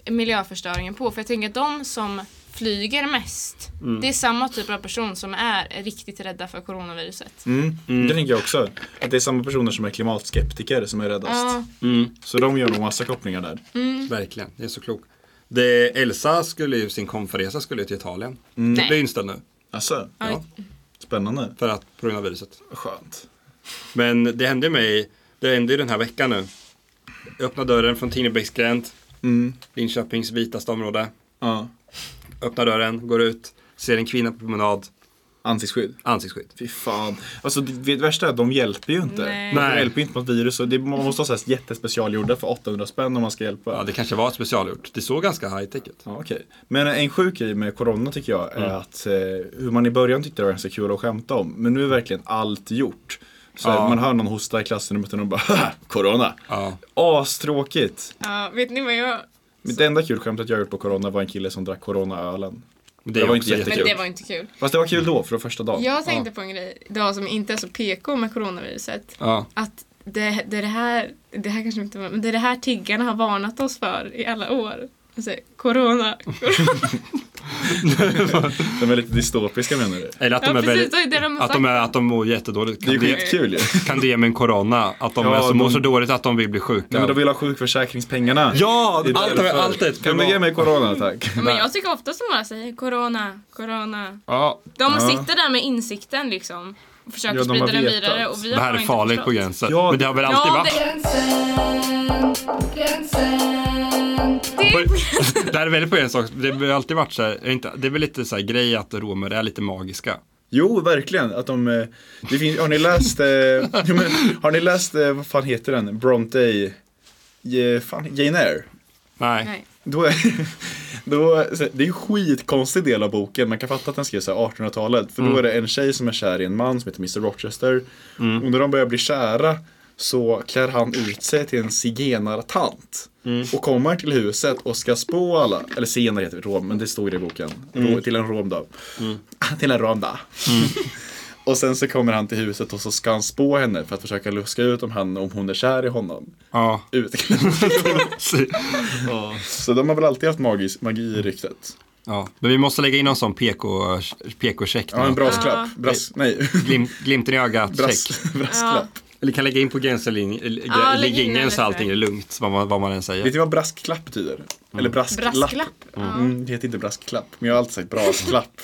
C: miljöförstöringen på. För jag tänker att de som flyger mest, det är samma typ av person som är riktigt rädda för coronaviruset.
A: Mm. Det tänker jag också. Att det är samma personer som är klimatskeptiker som är räddast.
C: Ja,
A: Så de gör nog massa kopplingar där.
B: Verkligen, det är så klokt. Det, Elsa skulle ju, sin konferensa skulle ju till Italien.
A: Mm.
B: Det blir inställd nu.
A: Alltså,
C: ja.
A: spännande.
B: För att, på grund av viruset.
A: Skönt.
B: Men det hände ju mig, det hände ju den här veckan nu. Jag öppnade dörren från Tinebäcksgränd,
A: Mm.
B: Linköpings vitaste område.
A: Ja.
B: Öppnar dörren, går ut, ser en kvinna på promenad,
A: Ansiktsskydd.
B: ansiktsskydd.
A: Fy fan. Alltså det, det värsta är att de hjälper ju inte.
C: Nej.
A: De hjälper ju inte mot virus. Och det, man måste ha så här jättespecialgjorda för 800 spänn om man ska hjälpa.
B: Ja, det kanske var ett specialgjort. Det såg ganska high-tech ut.
A: Ja, okej. Men en sjuk grej med corona tycker jag är
B: Mm.
A: att eh, hur man i början tyckte det var ganska kul att skämta om. Men nu är verkligen allt gjort. Så här,
B: Ja.
A: Man hör någon hosta i klassrummet och de bara "Haha, corona.
B: Ja.
A: Astråkigt.
C: ja, vet ni vad jag...
A: Mitt enda kul skämtet jag gjort på corona var en kille som drack coronaölen.
B: Men
A: Det var
B: också
A: inte jätte-
C: Men
A: kul.
C: det var inte kul.
A: Fast det var kul då, för första dagen.
C: Jag tänkte på en grej idag som inte är så PK med coronaviruset.
B: Ja.
C: Att det, det, är det här, det här kanske inte var, men det är det här tiggarna har varnat oss för i alla år. Alltså, corona.
A: De är lite dystopiska menar du?
B: Eller att de
C: Ja,
B: är
C: precis,
B: väldigt...
C: det är det de har
B: Att de,
C: sagt.
B: är, att de mår jättedåligt.
A: Det är ju
B: Kan det,
A: skitkul ju.
B: kan det med en corona? Att de
A: Ja,
B: är så, mår
A: de-
B: så dåligt att de vill bli sjuka?
A: Nej, men de vill ha sjukförsäkringspengarna.
B: Ja,
A: Det är
B: allt,
A: därför.
B: är- allt är ett
A: Kan du ge mig corona tack?
C: Ja, Men jag tycker ofta som bara säger corona, corona.
B: Ja,
C: De
A: Ja.
C: sitter där med insikten liksom. Och försöker
A: Ja, de har
C: sprida den
A: vetat.
C: vidare. Och vi
B: det
C: har
B: här
C: fan
B: är
C: inte
B: farligt
C: förstått.
B: på gränsen.
A: Ja,
B: men det har väl alltid
C: Ja,
B: varit? Det...
C: det,
B: [LAUGHS] här är väldigt på gränsen också. Det har väl alltid varit så här, är inte, det är väl lite så här grej att romer är lite magiska.
A: Jo, verkligen. Att de, eh, det finns, har ni läst, eh, [LAUGHS] jo, men, har ni läst eh, vad fan heter den, Bronte, eh, fan, Jane Eyre?
B: Nej.
C: Nej.
A: Då är, [LAUGHS] då, så- det är en skitkonstig del av boken, man kan fatta att den skrevs så här 1800-talet. För då är det en tjej som är kär i en man som heter Mr Rochester. Och när de börjar bli kära så klär han ut sig till en zigenartant. Och kommer till huset och ska spå alla, eller zigenare heter det, rom, men det stod det i boken. Ro- Till en rom då. [LAUGHS] till en rom då. [LAUGHS] Och sen så kommer han till huset och så ska han spå henne för att försöka luska ut om, han, om hon är kär i honom.
B: Ja. [LAUGHS]
A: Ut. [LAUGHS] så de har väl alltid haft magis, magi i ryktet.
B: ja. Men vi måste lägga in någon sån PK, PK-check.
A: Ja, en
B: nu.
A: brasklapp. Bras, nej, [LAUGHS]
B: Glim, glimten i ögat-check.
A: Brass, brasklapp.
B: Eller kan lägga in på gränsen
C: Ja, lägg in
B: ligingen
C: den
B: så allting
C: efter.
B: är lugnt, vad man, vad man än säger.
A: Vet ni vad braskklapp betyder? Eller brasklapp.
C: Brasklapp.
A: Mm, det heter inte brasklapp, men jag har alltid sagt [LAUGHS] brasklapp.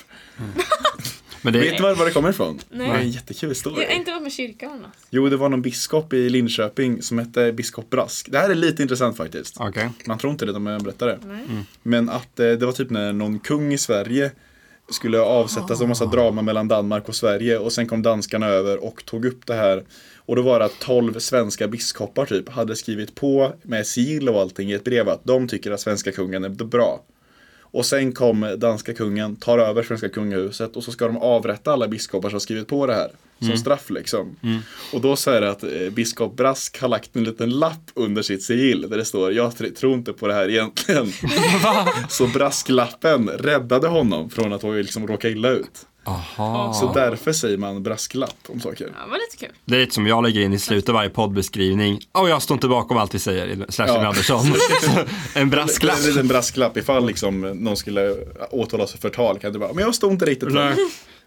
B: Men det,
A: Vet ni var, var det kommer ifrån?
C: Nej.
A: Det är en jättekul historia.
C: Jag har inte varit med kyrkan alltså. eller något.
A: Jo, det var någon biskop i Linköping som hette biskop Brask. Det här är lite intressant faktiskt.
B: Okej.
A: Man tror inte det när man berättar det. Men att eh, det var typ när någon kung i Sverige skulle avsättas och massa drama mellan Danmark och Sverige och sen kom danskarna över och tog upp det här. Och då var det att 12 svenska biskopar typ hade skrivit på med sigill och allting i ett brev att de tycker att svenska kungen är bra. Och sen kom danska kungen, tar över svenska kungahuset och så ska de avrätta alla biskopar som skrivit på det här. Som
B: Mm.
A: straff liksom. Och då säger det att eh, biskop Brask har lagt en liten lapp under sitt sigill där det står jag tr- tror inte på det här egentligen.
B: [LAUGHS]
A: så Brasklappen räddade honom från att liksom råka illa ut.
B: Aha.
A: Så därför säger man Brasklapp om saker.
C: Ja, det var lite kul.
B: det är lite som jag lägger in i slutet av varje poddbeskrivning. Och jag står inte bakom allt vi säger, slash
A: Ja.
B: Emil [LAUGHS] Andersson. en brasklapp.
A: En liten brasklapp ifall liksom någon skulle åtalas för förtal kan du bara, men jag stod inte riktigt för det."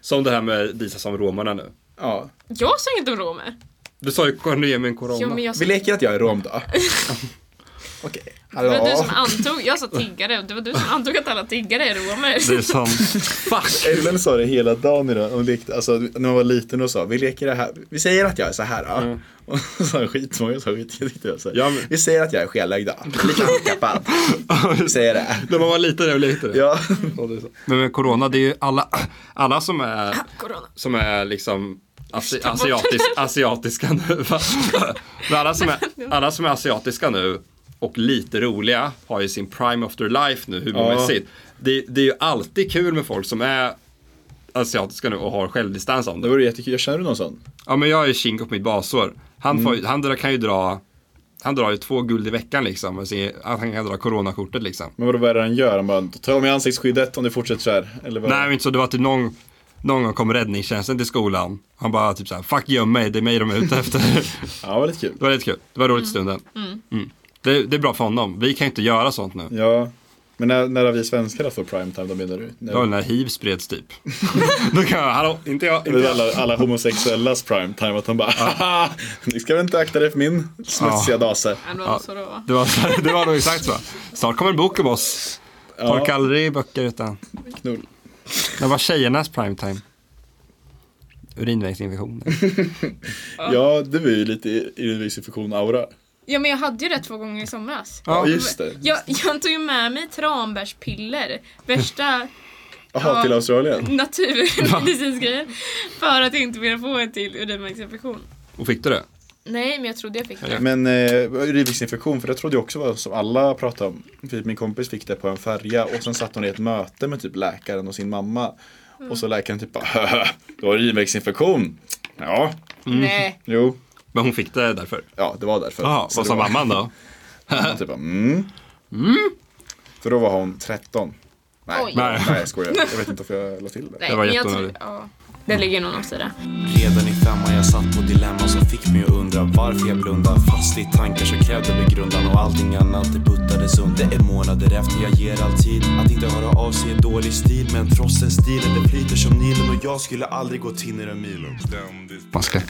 B: Som det här med Disa som romarna nu.
A: ja.
C: Jag sa inget om romer.
B: Du sa ju Cornemen Corona.
C: Jo, men jag sa...
A: Vi leker att jag är rom då. [LAUGHS] Okej,
C: Det var du
A: hallå.
C: som
A: [LAUGHS]
C: antog, jag sa tiggare, det var du som antog att alla tiggare är romer.
B: Det är som,
A: Ellen sa det hela dagen idag. Hon lekte, alltså, när hon var liten och sa vi leker det här. Vi säger att jag är så här. Ja. [LAUGHS] Och så sa hon skitmånga saker. Jag tyckte det var så här.
B: Ja, men-
A: Vi säger att jag är skelögd. ja. Lite handikappad. vi säger det.
B: när man var liten, jag blev lite det.
A: Ja.
B: Men med Corona, det är ju alla, alla som är,
C: Corona.
B: som är liksom asi, asiatis, asiatiska nu. va? Men alla, som är, alla som är asiatiska nu och lite roliga har ju sin prime of their life nu humormässigt. Det, det är ju alltid kul med folk som är asiatiska nu och har självdistans om
A: Det
B: det.
A: vore jättekul. Jag känner du någon sån?
B: Ja men jag är kink på mitt basår. Han, får, ju- han drar- kan ju dra han drar ju två guld i veckan liksom. Och se, att han kan dra coronakortet liksom.
A: Men vadå, vad är det han gör? Han bara, ta av mig ansiktsskyddet om du fortsätter så här. Eller vad?
B: Nej men inte så, det var typ någon, någon gång kom räddningstjänsten till skolan. Han bara typ såhär, fuck göm mig, det är mig de är ute [LAUGHS] efter.
A: Ja, det var lite kul.
B: det var rätt kul, det var roligt i stunden. Mm. Det, det är bra för honom, vi kan ju inte göra sånt nu.
A: Ja. Men när, när har vi svenskar fått primetime då menar du? När,
B: Det var väl när hiv spreds [LAUGHS] typ. Då kan jag, hallå, inte jag, inte
A: Det är
B: jag.
A: alla, alla homosexuellas primetime, att de bara haha, ni ska väl inte akta dig för min smutsiga dase.
C: Ja, det var så det var.
B: Det var, så här- det var nog exakt så. Snart kommer en bok om oss. Torka aldrig böcker utan.
A: Knull.
B: Det var tjejernas primetime. Urinvägsinfektioner.
A: Ja, det var ju lite urinvägsinfektion-aura.
C: Ja men jag hade ju det två gånger i somras.
A: Ja, just det.
C: Jag, jag tog ju med mig tranbärspiller, värsta
A: Jaha,
C: Ja.
A: till Australien.
B: [LAUGHS]
C: naturmedicinska för att jag inte ville få en till urinvägsinfektion.
B: Och fick du det?
C: Nej men jag trodde jag fick det.
A: Men eh, urinvägsinfektion, för det trodde jag också var som alla pratade om. För min kompis fick det på en färja och sen satt hon i ett möte med typ läkaren och sin mamma. Och
C: Mm.
A: så läkaren typ bara, "Haha, du har urinvägsinfektion. Ja,
B: mm.
C: Nej.
A: jo,
B: Men hon fick det därför.
A: ja det var därför.
B: Jaha,
A: Så
B: vad
A: det
B: sa
A: var-
B: mamman då?
A: Hon typ bara, mm. För då var hon 13. Nej,
C: Oj.
A: nej
B: Nej.
A: jag skojar. Jag vet inte varför jag la till det.
C: Nej,
B: Det var
C: men jag
B: jätteonödigt.
C: tror- ja. Det ligger nog något i det.
K: Redan i femman jag satt på dilemma som fick mig att undra varför jag blundar Fast i tankar som krävde begrundan och allting annat det puttades under Det är månader efter jag ger all tid Att inte höra av sig är dålig stil Men trossen stilen det flyter som Nilen och jag skulle aldrig gå tinnare än milen
B: Man ska.
A: Nej,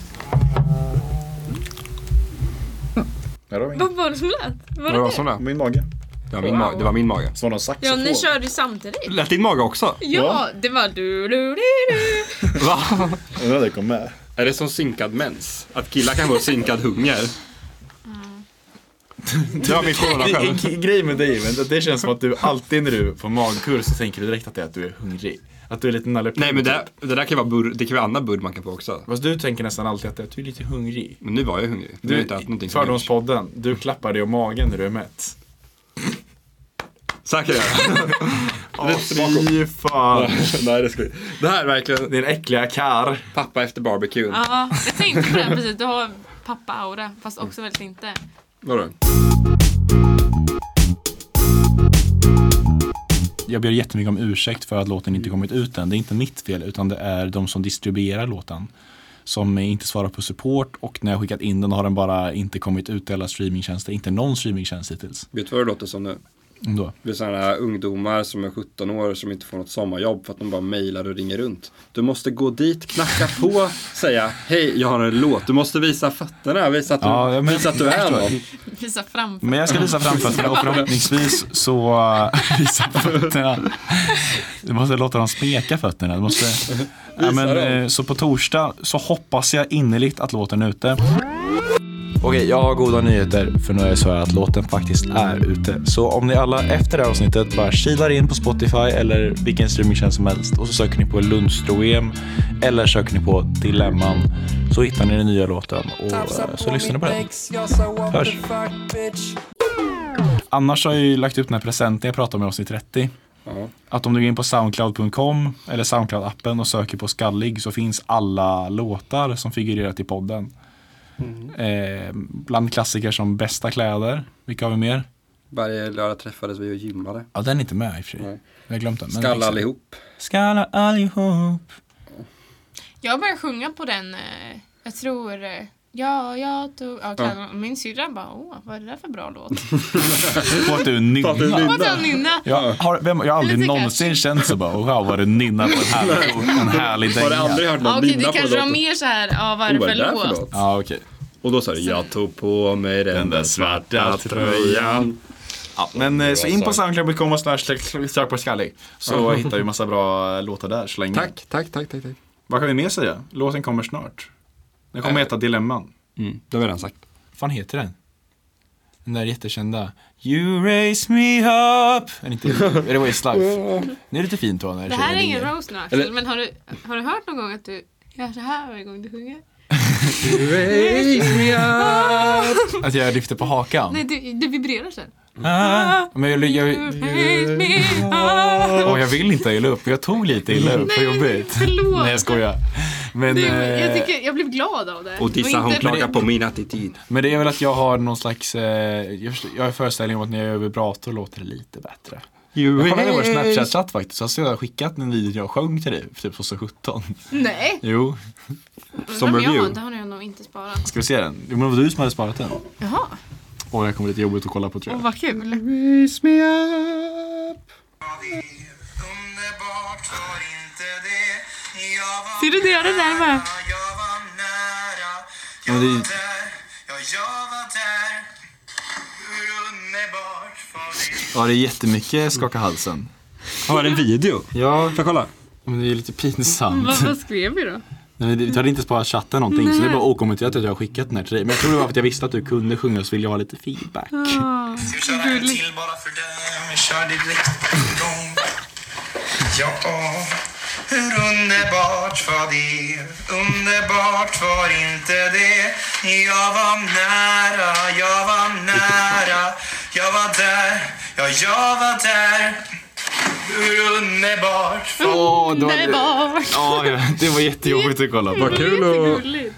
A: det var ingen.
C: Vad var det som lät? Var
B: Vad var
C: det
B: det som
C: det?
B: lät?
A: Min mage.
B: Det var min mage. Det var min mage.
A: Som var någon saxofon.
C: Ja ni körde ju samtidigt.
B: Lät din mage också?
A: Ja.
C: Ja, det var du du du du.
B: Va?
A: Undrar om det kom med.
B: Är det som synkad mens? Att killar kan få synkad hunger?
N: Det var
A: [LAUGHS]
N: min själv. Grejen med dig men det känns som att du alltid när du får magkurs så tänker du direkt att det är att du är hungrig. Att du är lite nalle
B: Nej men det, det där kan ju vara burr, det kan vara annan burr man kan få också.
N: Fast du tänker nästan alltid att det är att du är lite hungrig.
B: Men nu var jag hungrig. Nu har jag inte haft
N: Du,
B: någonting som lunch.
N: fördomspodden, du klappar dig om magen när du är mätt.
B: Så här kan jag göra.
N: Åh, fy fan.
B: [LAUGHS] Nej det ska vi. Det här är verkligen
N: Din äckliga kar.
B: pappa efter barbecuen.
C: Ja, jag tänkte på det här precis. Du har pappa-aura, fast också väldigt inte.
B: Vadå?
A: Jag ber jättemycket om ursäkt för att låten inte kommit ut än. Det är inte mitt fel utan det är de som distribuerar låten. Som inte svarar på support och när jag skickat in den har den bara inte kommit ut till alla streamingtjänster. Inte någon streamingtjänst hittills.
B: Vet du vad det låter som nu?
A: Ändå.
B: Det är sådana här ungdomar som är 17 år som inte får något sommarjobb för att de bara mejlar och ringer runt. Du måste gå dit, knacka på, säga hej, jag har en låt. Du måste visa fötterna, visa att du,
A: Ja, men-
B: visa att du är någon.
C: Visa framför.
A: Men jag ska visa framfötterna och förhoppningsvis [LAUGHS] så visa fötterna. Du måste låta dem smeka fötterna. Du måste... Ja, men,
B: dem.
A: eh, så på torsdag så hoppas jag innerligt att låten är ute. Okej, jag har goda nyheter för nu är det så här att låten faktiskt är ute. Så om ni alla efter det här avsnittet bara kilar in på Spotify eller vilken streamingtjänst som helst och så söker ni på Lundstro-EM eller söker ni på Dilemman så hittar ni den nya låten och eh, så lyssnar ni på den. Hörs. Annars har jag ju lagt upp den här presenten jag pratade om i avsnitt 30.
B: Ja.
A: Att om du går in på soundcloud.com eller soundcloud-appen och söker på skallig så finns alla låtar som figurerat i podden.
B: Mm.
A: Eh, bland klassiker som bästa kläder, vilka har vi mer?
B: Varje lördag träffades vi och gymmade.
A: Ja, den är inte med i och för sig.
B: Nej.
A: Jag har glömt den. men-
B: Skalla allihop.
A: Skalla allihop.
C: Jag började sjunga på den, eh, jag tror, eh, ja, jag tog, ja, kläderna. min syrra bara, åh, vad är det där för bra låt?
A: På att du nynnar.
C: Vad har nynna?
A: Jag har, vem, jag har aldrig
C: Lite
A: någonsin känt så bara, wow vad du nynnar på en härlig, en härlig
B: Har du
A: dänga.
B: aldrig hört
C: Ja,
B: någon
C: Okej,
B: nynna
C: det
B: på
C: kanske var
B: låten?
C: mer så här, ja, vad är
B: Oh,
C: det
B: vad är
C: för
B: det där för
C: låt?
B: låt?
A: Ja, okej.
B: Och då sa du, jag tog på mig den där svarta tröjan.
N: Ja, men eh, så in på
B: sak.
N: soundcloud.com och slash sök på skallig. Så hittar vi massa bra eh, låtar där så länge.
B: Tack, tack, tack, tack. tack.
N: Vad kan vi mer säga? Låten kommer snart. Den kommer heta Dilemman.
B: Mm, det har vi redan sagt.
A: Äh. fan heter den? Den där jättekända You raise me up. Är det inte är det
C: [LAUGHS]
A: Westlife? Det är lite fint va när
C: Det här är
A: tjejer
C: ingen
A: ringer.
C: Rose nu Axel,
B: Eller-
C: men har du, har du hört någon gång att du gör så här varje gång du sjunger?
B: Raise me up.
A: Att jag lyfter på hakan.
C: Nej, du, du vibrerar sen.
A: Ah, men jag, jag,
C: Raise me up.
A: åh, jag vill inte illa upp. Jag tog lite illa upp. Vad jobbigt.
C: förlåt.
A: Nej jag skojar. Men,
C: Det,
A: eh,
C: jag, tycker, jag blev glad av det.
B: Och dissa
C: inte-
B: hon klagar på min attityd.
A: men det är väl att jag har någon slags, eh, jag förstår- jag har föreställning om att när jag gör vibrator låter det lite bättre. Jag kollade i vår Snapchat-chatt faktiskt, så har jag skickat en video jag sjöng till dig, för typ 2017.
C: Nej,
A: Jo,
C: som jag
A: review.
C: har, det har jag nog inte sparat.
A: ska vi se den? Jo men det var du som hade sparat den.
C: Jaha,
A: Och jag kommer lite jobbigt att kolla på tror
C: åh
A: jag.
C: vad kul.
F: Underbart var inte det. Jag var
C: Ser du, det gör det där med.
F: nära, Jag var nära. Jag
A: Men det-
F: var där. Ja, jag var där. Hur underbart var det?
A: Ja, det är jättemycket skaka halsen.
B: Har en video?
A: Ja,
B: Får jag kolla?
A: men det är lite pinsamt.
C: Vad, vad skrev vi då?
A: Nej, vi hade inte sparat chatten någonting så det är bara okommenterat att jag har skickat den här till dig. Men jag tror det var för att jag visste att du kunde sjunga så ville jag ha lite feedback.
C: Ah,
F: Jag körde en
C: gulligt.
F: till bara för dem. Jag körde direkt på en gång. Ja, hur underbart var det? Underbart var inte det. Jag var nära, jag var nära. Jag var där, ja, jag var där. Hur underbart var
A: Åh, det
C: Nej, bara.
A: Ja, ja, det var jättejobbigt att kolla på.
B: Vad kul att...
C: Jättegulligt.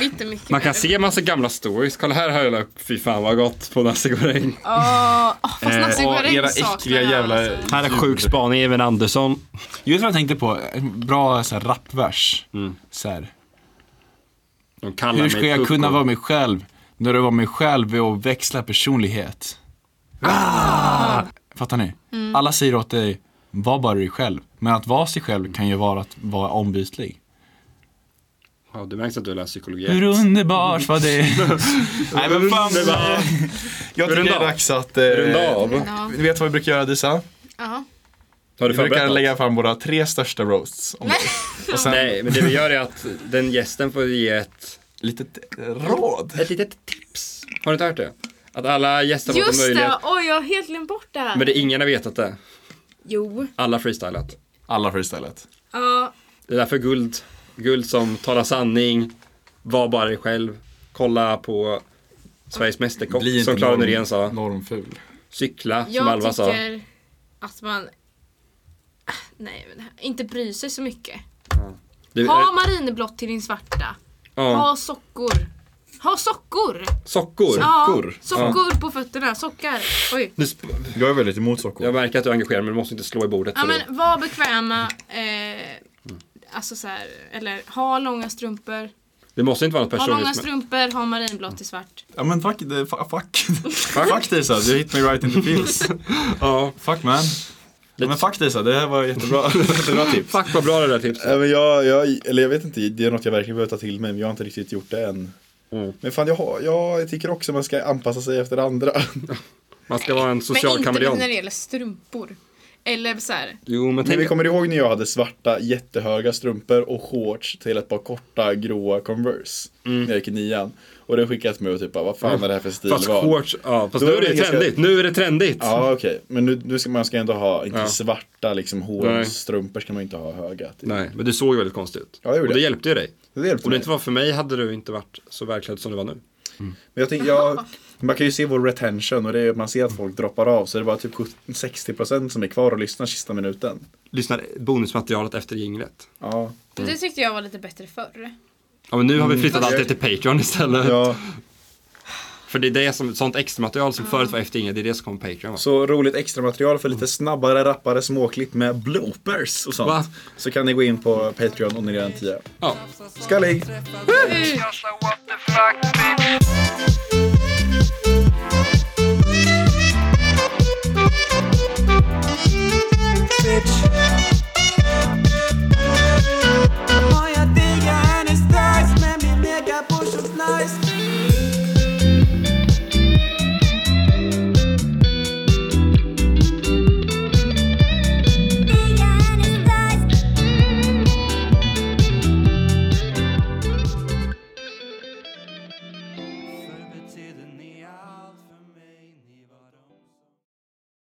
C: Lite mycket
B: Man kan
C: värre.
B: se massa gamla stories. Kolla här har jag lagt upp, fy fan vad gott på nasi
C: Ja, åh, fast nazigoräng
N: era
C: saknar
N: äckliga
C: jag,
N: jävla-
C: alltså.
B: Här är sjuk spaning, Even Andersson.
A: Just vad jag tänkte på, en bra så här, rappvers. Så här,
B: De kallar
A: hur
B: mig
A: ska jag
B: Coco.
A: kunna vara mig själv när du var mig själv är att växla personlighet? Ah! Fattar ni? Alla säger åt dig, var bara dig själv. Men att vara sig själv kan ju vara att vara ombytlig.
B: Ja, du märks att du läser psykologi.
A: Hur underbart var det?
N: Nej men fan. Jag tycker det
B: Runda
N: är
B: av.
N: dags att... eh,
B: Runda av.
C: Ja,
N: Ni vet vad vi brukar göra Disa?
C: ja.
B: Har du
N: Vi brukar
B: förberett något?
N: lägga fram våra tre största roasts. Om dig. och sen,
B: Nej, men det vi gör är att den gästen får ge ett
A: litet eh, råd.
B: Ett litet tips. Har du inte hört det? Att alla gäster har fått en
C: Just
B: möjlighet.
C: det, oj jag har helt glömt bort det här.
B: Men det, ingen har vetat det.
C: Jo.
B: Alla freestylat.
A: Alla freestylat.
C: Ja,
B: Det är därför guld, guld som talar sanning, var bara dig själv, kolla på Sveriges Mästerkock
A: Bli
B: som
A: inte
B: Klara
A: norm,
B: Nyrén sa,
A: normful.
B: cykla som
C: jag
B: Alva sa.
C: tycker att man... Ah, Nej, men det här- inte bry sig så mycket.
B: Du,
C: Ha
B: är-
C: marinblått till din svarta.
B: eh, ja,
C: Ha sockor. Ha sockor!
B: sockor.
C: Ja, sockor på fötterna. Sockar. Oj.
B: Nu sp-
A: Jag är väldigt emot sockor.
B: Jag märker att du är engagerad men du måste inte slå i bordet.
C: Ja
B: för
C: men var bekväma. Eh, alltså så här, eller ha långa strumpor.
B: det måste inte vara något
C: Ha
B: personligt.
C: långa
B: men-
C: strumpor, ha marinblått till svart.
O: Ja men fuck, det, fuck, fuck. fuck this alltså, you hit me right in the feels.
B: ja,
O: Fuck man. Ja, men fuck this, det här var
A: [LAUGHS]
O: jättebra, jättebra tips.
B: fuck vad bra det där tipset.
A: Nej, men jag, jag, eller jag vet inte, det är något jag verkligen behöver ta till mig, men jag har inte riktigt gjort det än.
B: Mm.
A: Men fan, jag, har- jag tycker också man ska anpassa sig efter andra. [LAUGHS]
B: Man ska vara en
C: men
B: social
C: inte
B: kameleont. Mm.
C: när det gäller strumpor. Eller så här,
B: Jo men
A: Men vi
B: tänk,
A: kommer ihåg när jag hade svarta jättehöga strumpor och shorts till ett par korta gråa Converse
B: Mm.
A: när jag gick i nian. Och det skickades mig och typ bara, vad fan är det här för
B: fast
A: stilval?
B: shorts, ja fast
A: Då
B: nu
A: är
B: är det
A: det
B: ju
A: ganska-
B: trendigt. Nu är det trendigt.
A: Ja okej, men nu, nu ska man ska ändå ha, inte
B: Ja.
A: svarta liksom
B: Nej.
A: hårstrumpor ska man inte ha höga. Till.
B: Nej, men du såg ju väldigt konstig ut.
A: Ja, jag gjorde
B: och det
A: det.
B: hjälpte ju dig.
A: Det hjälpte
B: Om det
A: mig.
B: inte var för mig hade du inte varit så verklädd som du var nu.
A: Men jag tänker, jag, man kan ju se vår retention och det är, att man ser att folk droppar av så det är bara typ 70 60% som är kvar och lyssnar sista minuten.
B: Lyssnar bonusmaterialet efter jinglet.
A: Ja,
C: Det tyckte jag var lite bättre förr.
B: Ja, men nu har vi flyttat
A: Mm.
B: allt det till Patreon istället.
A: ja.
B: För det är det som, sånt extra material som förut var efter jinglet, det är det som kommer på Patreon. Va?
A: Så roligt extra material för lite snabbare, rappare småklipp med bloopers och sånt.
B: Va?
A: Så kan ni gå in på Patreon om ni redan är tio.
B: Ja.
A: Skallig!
P: bitch.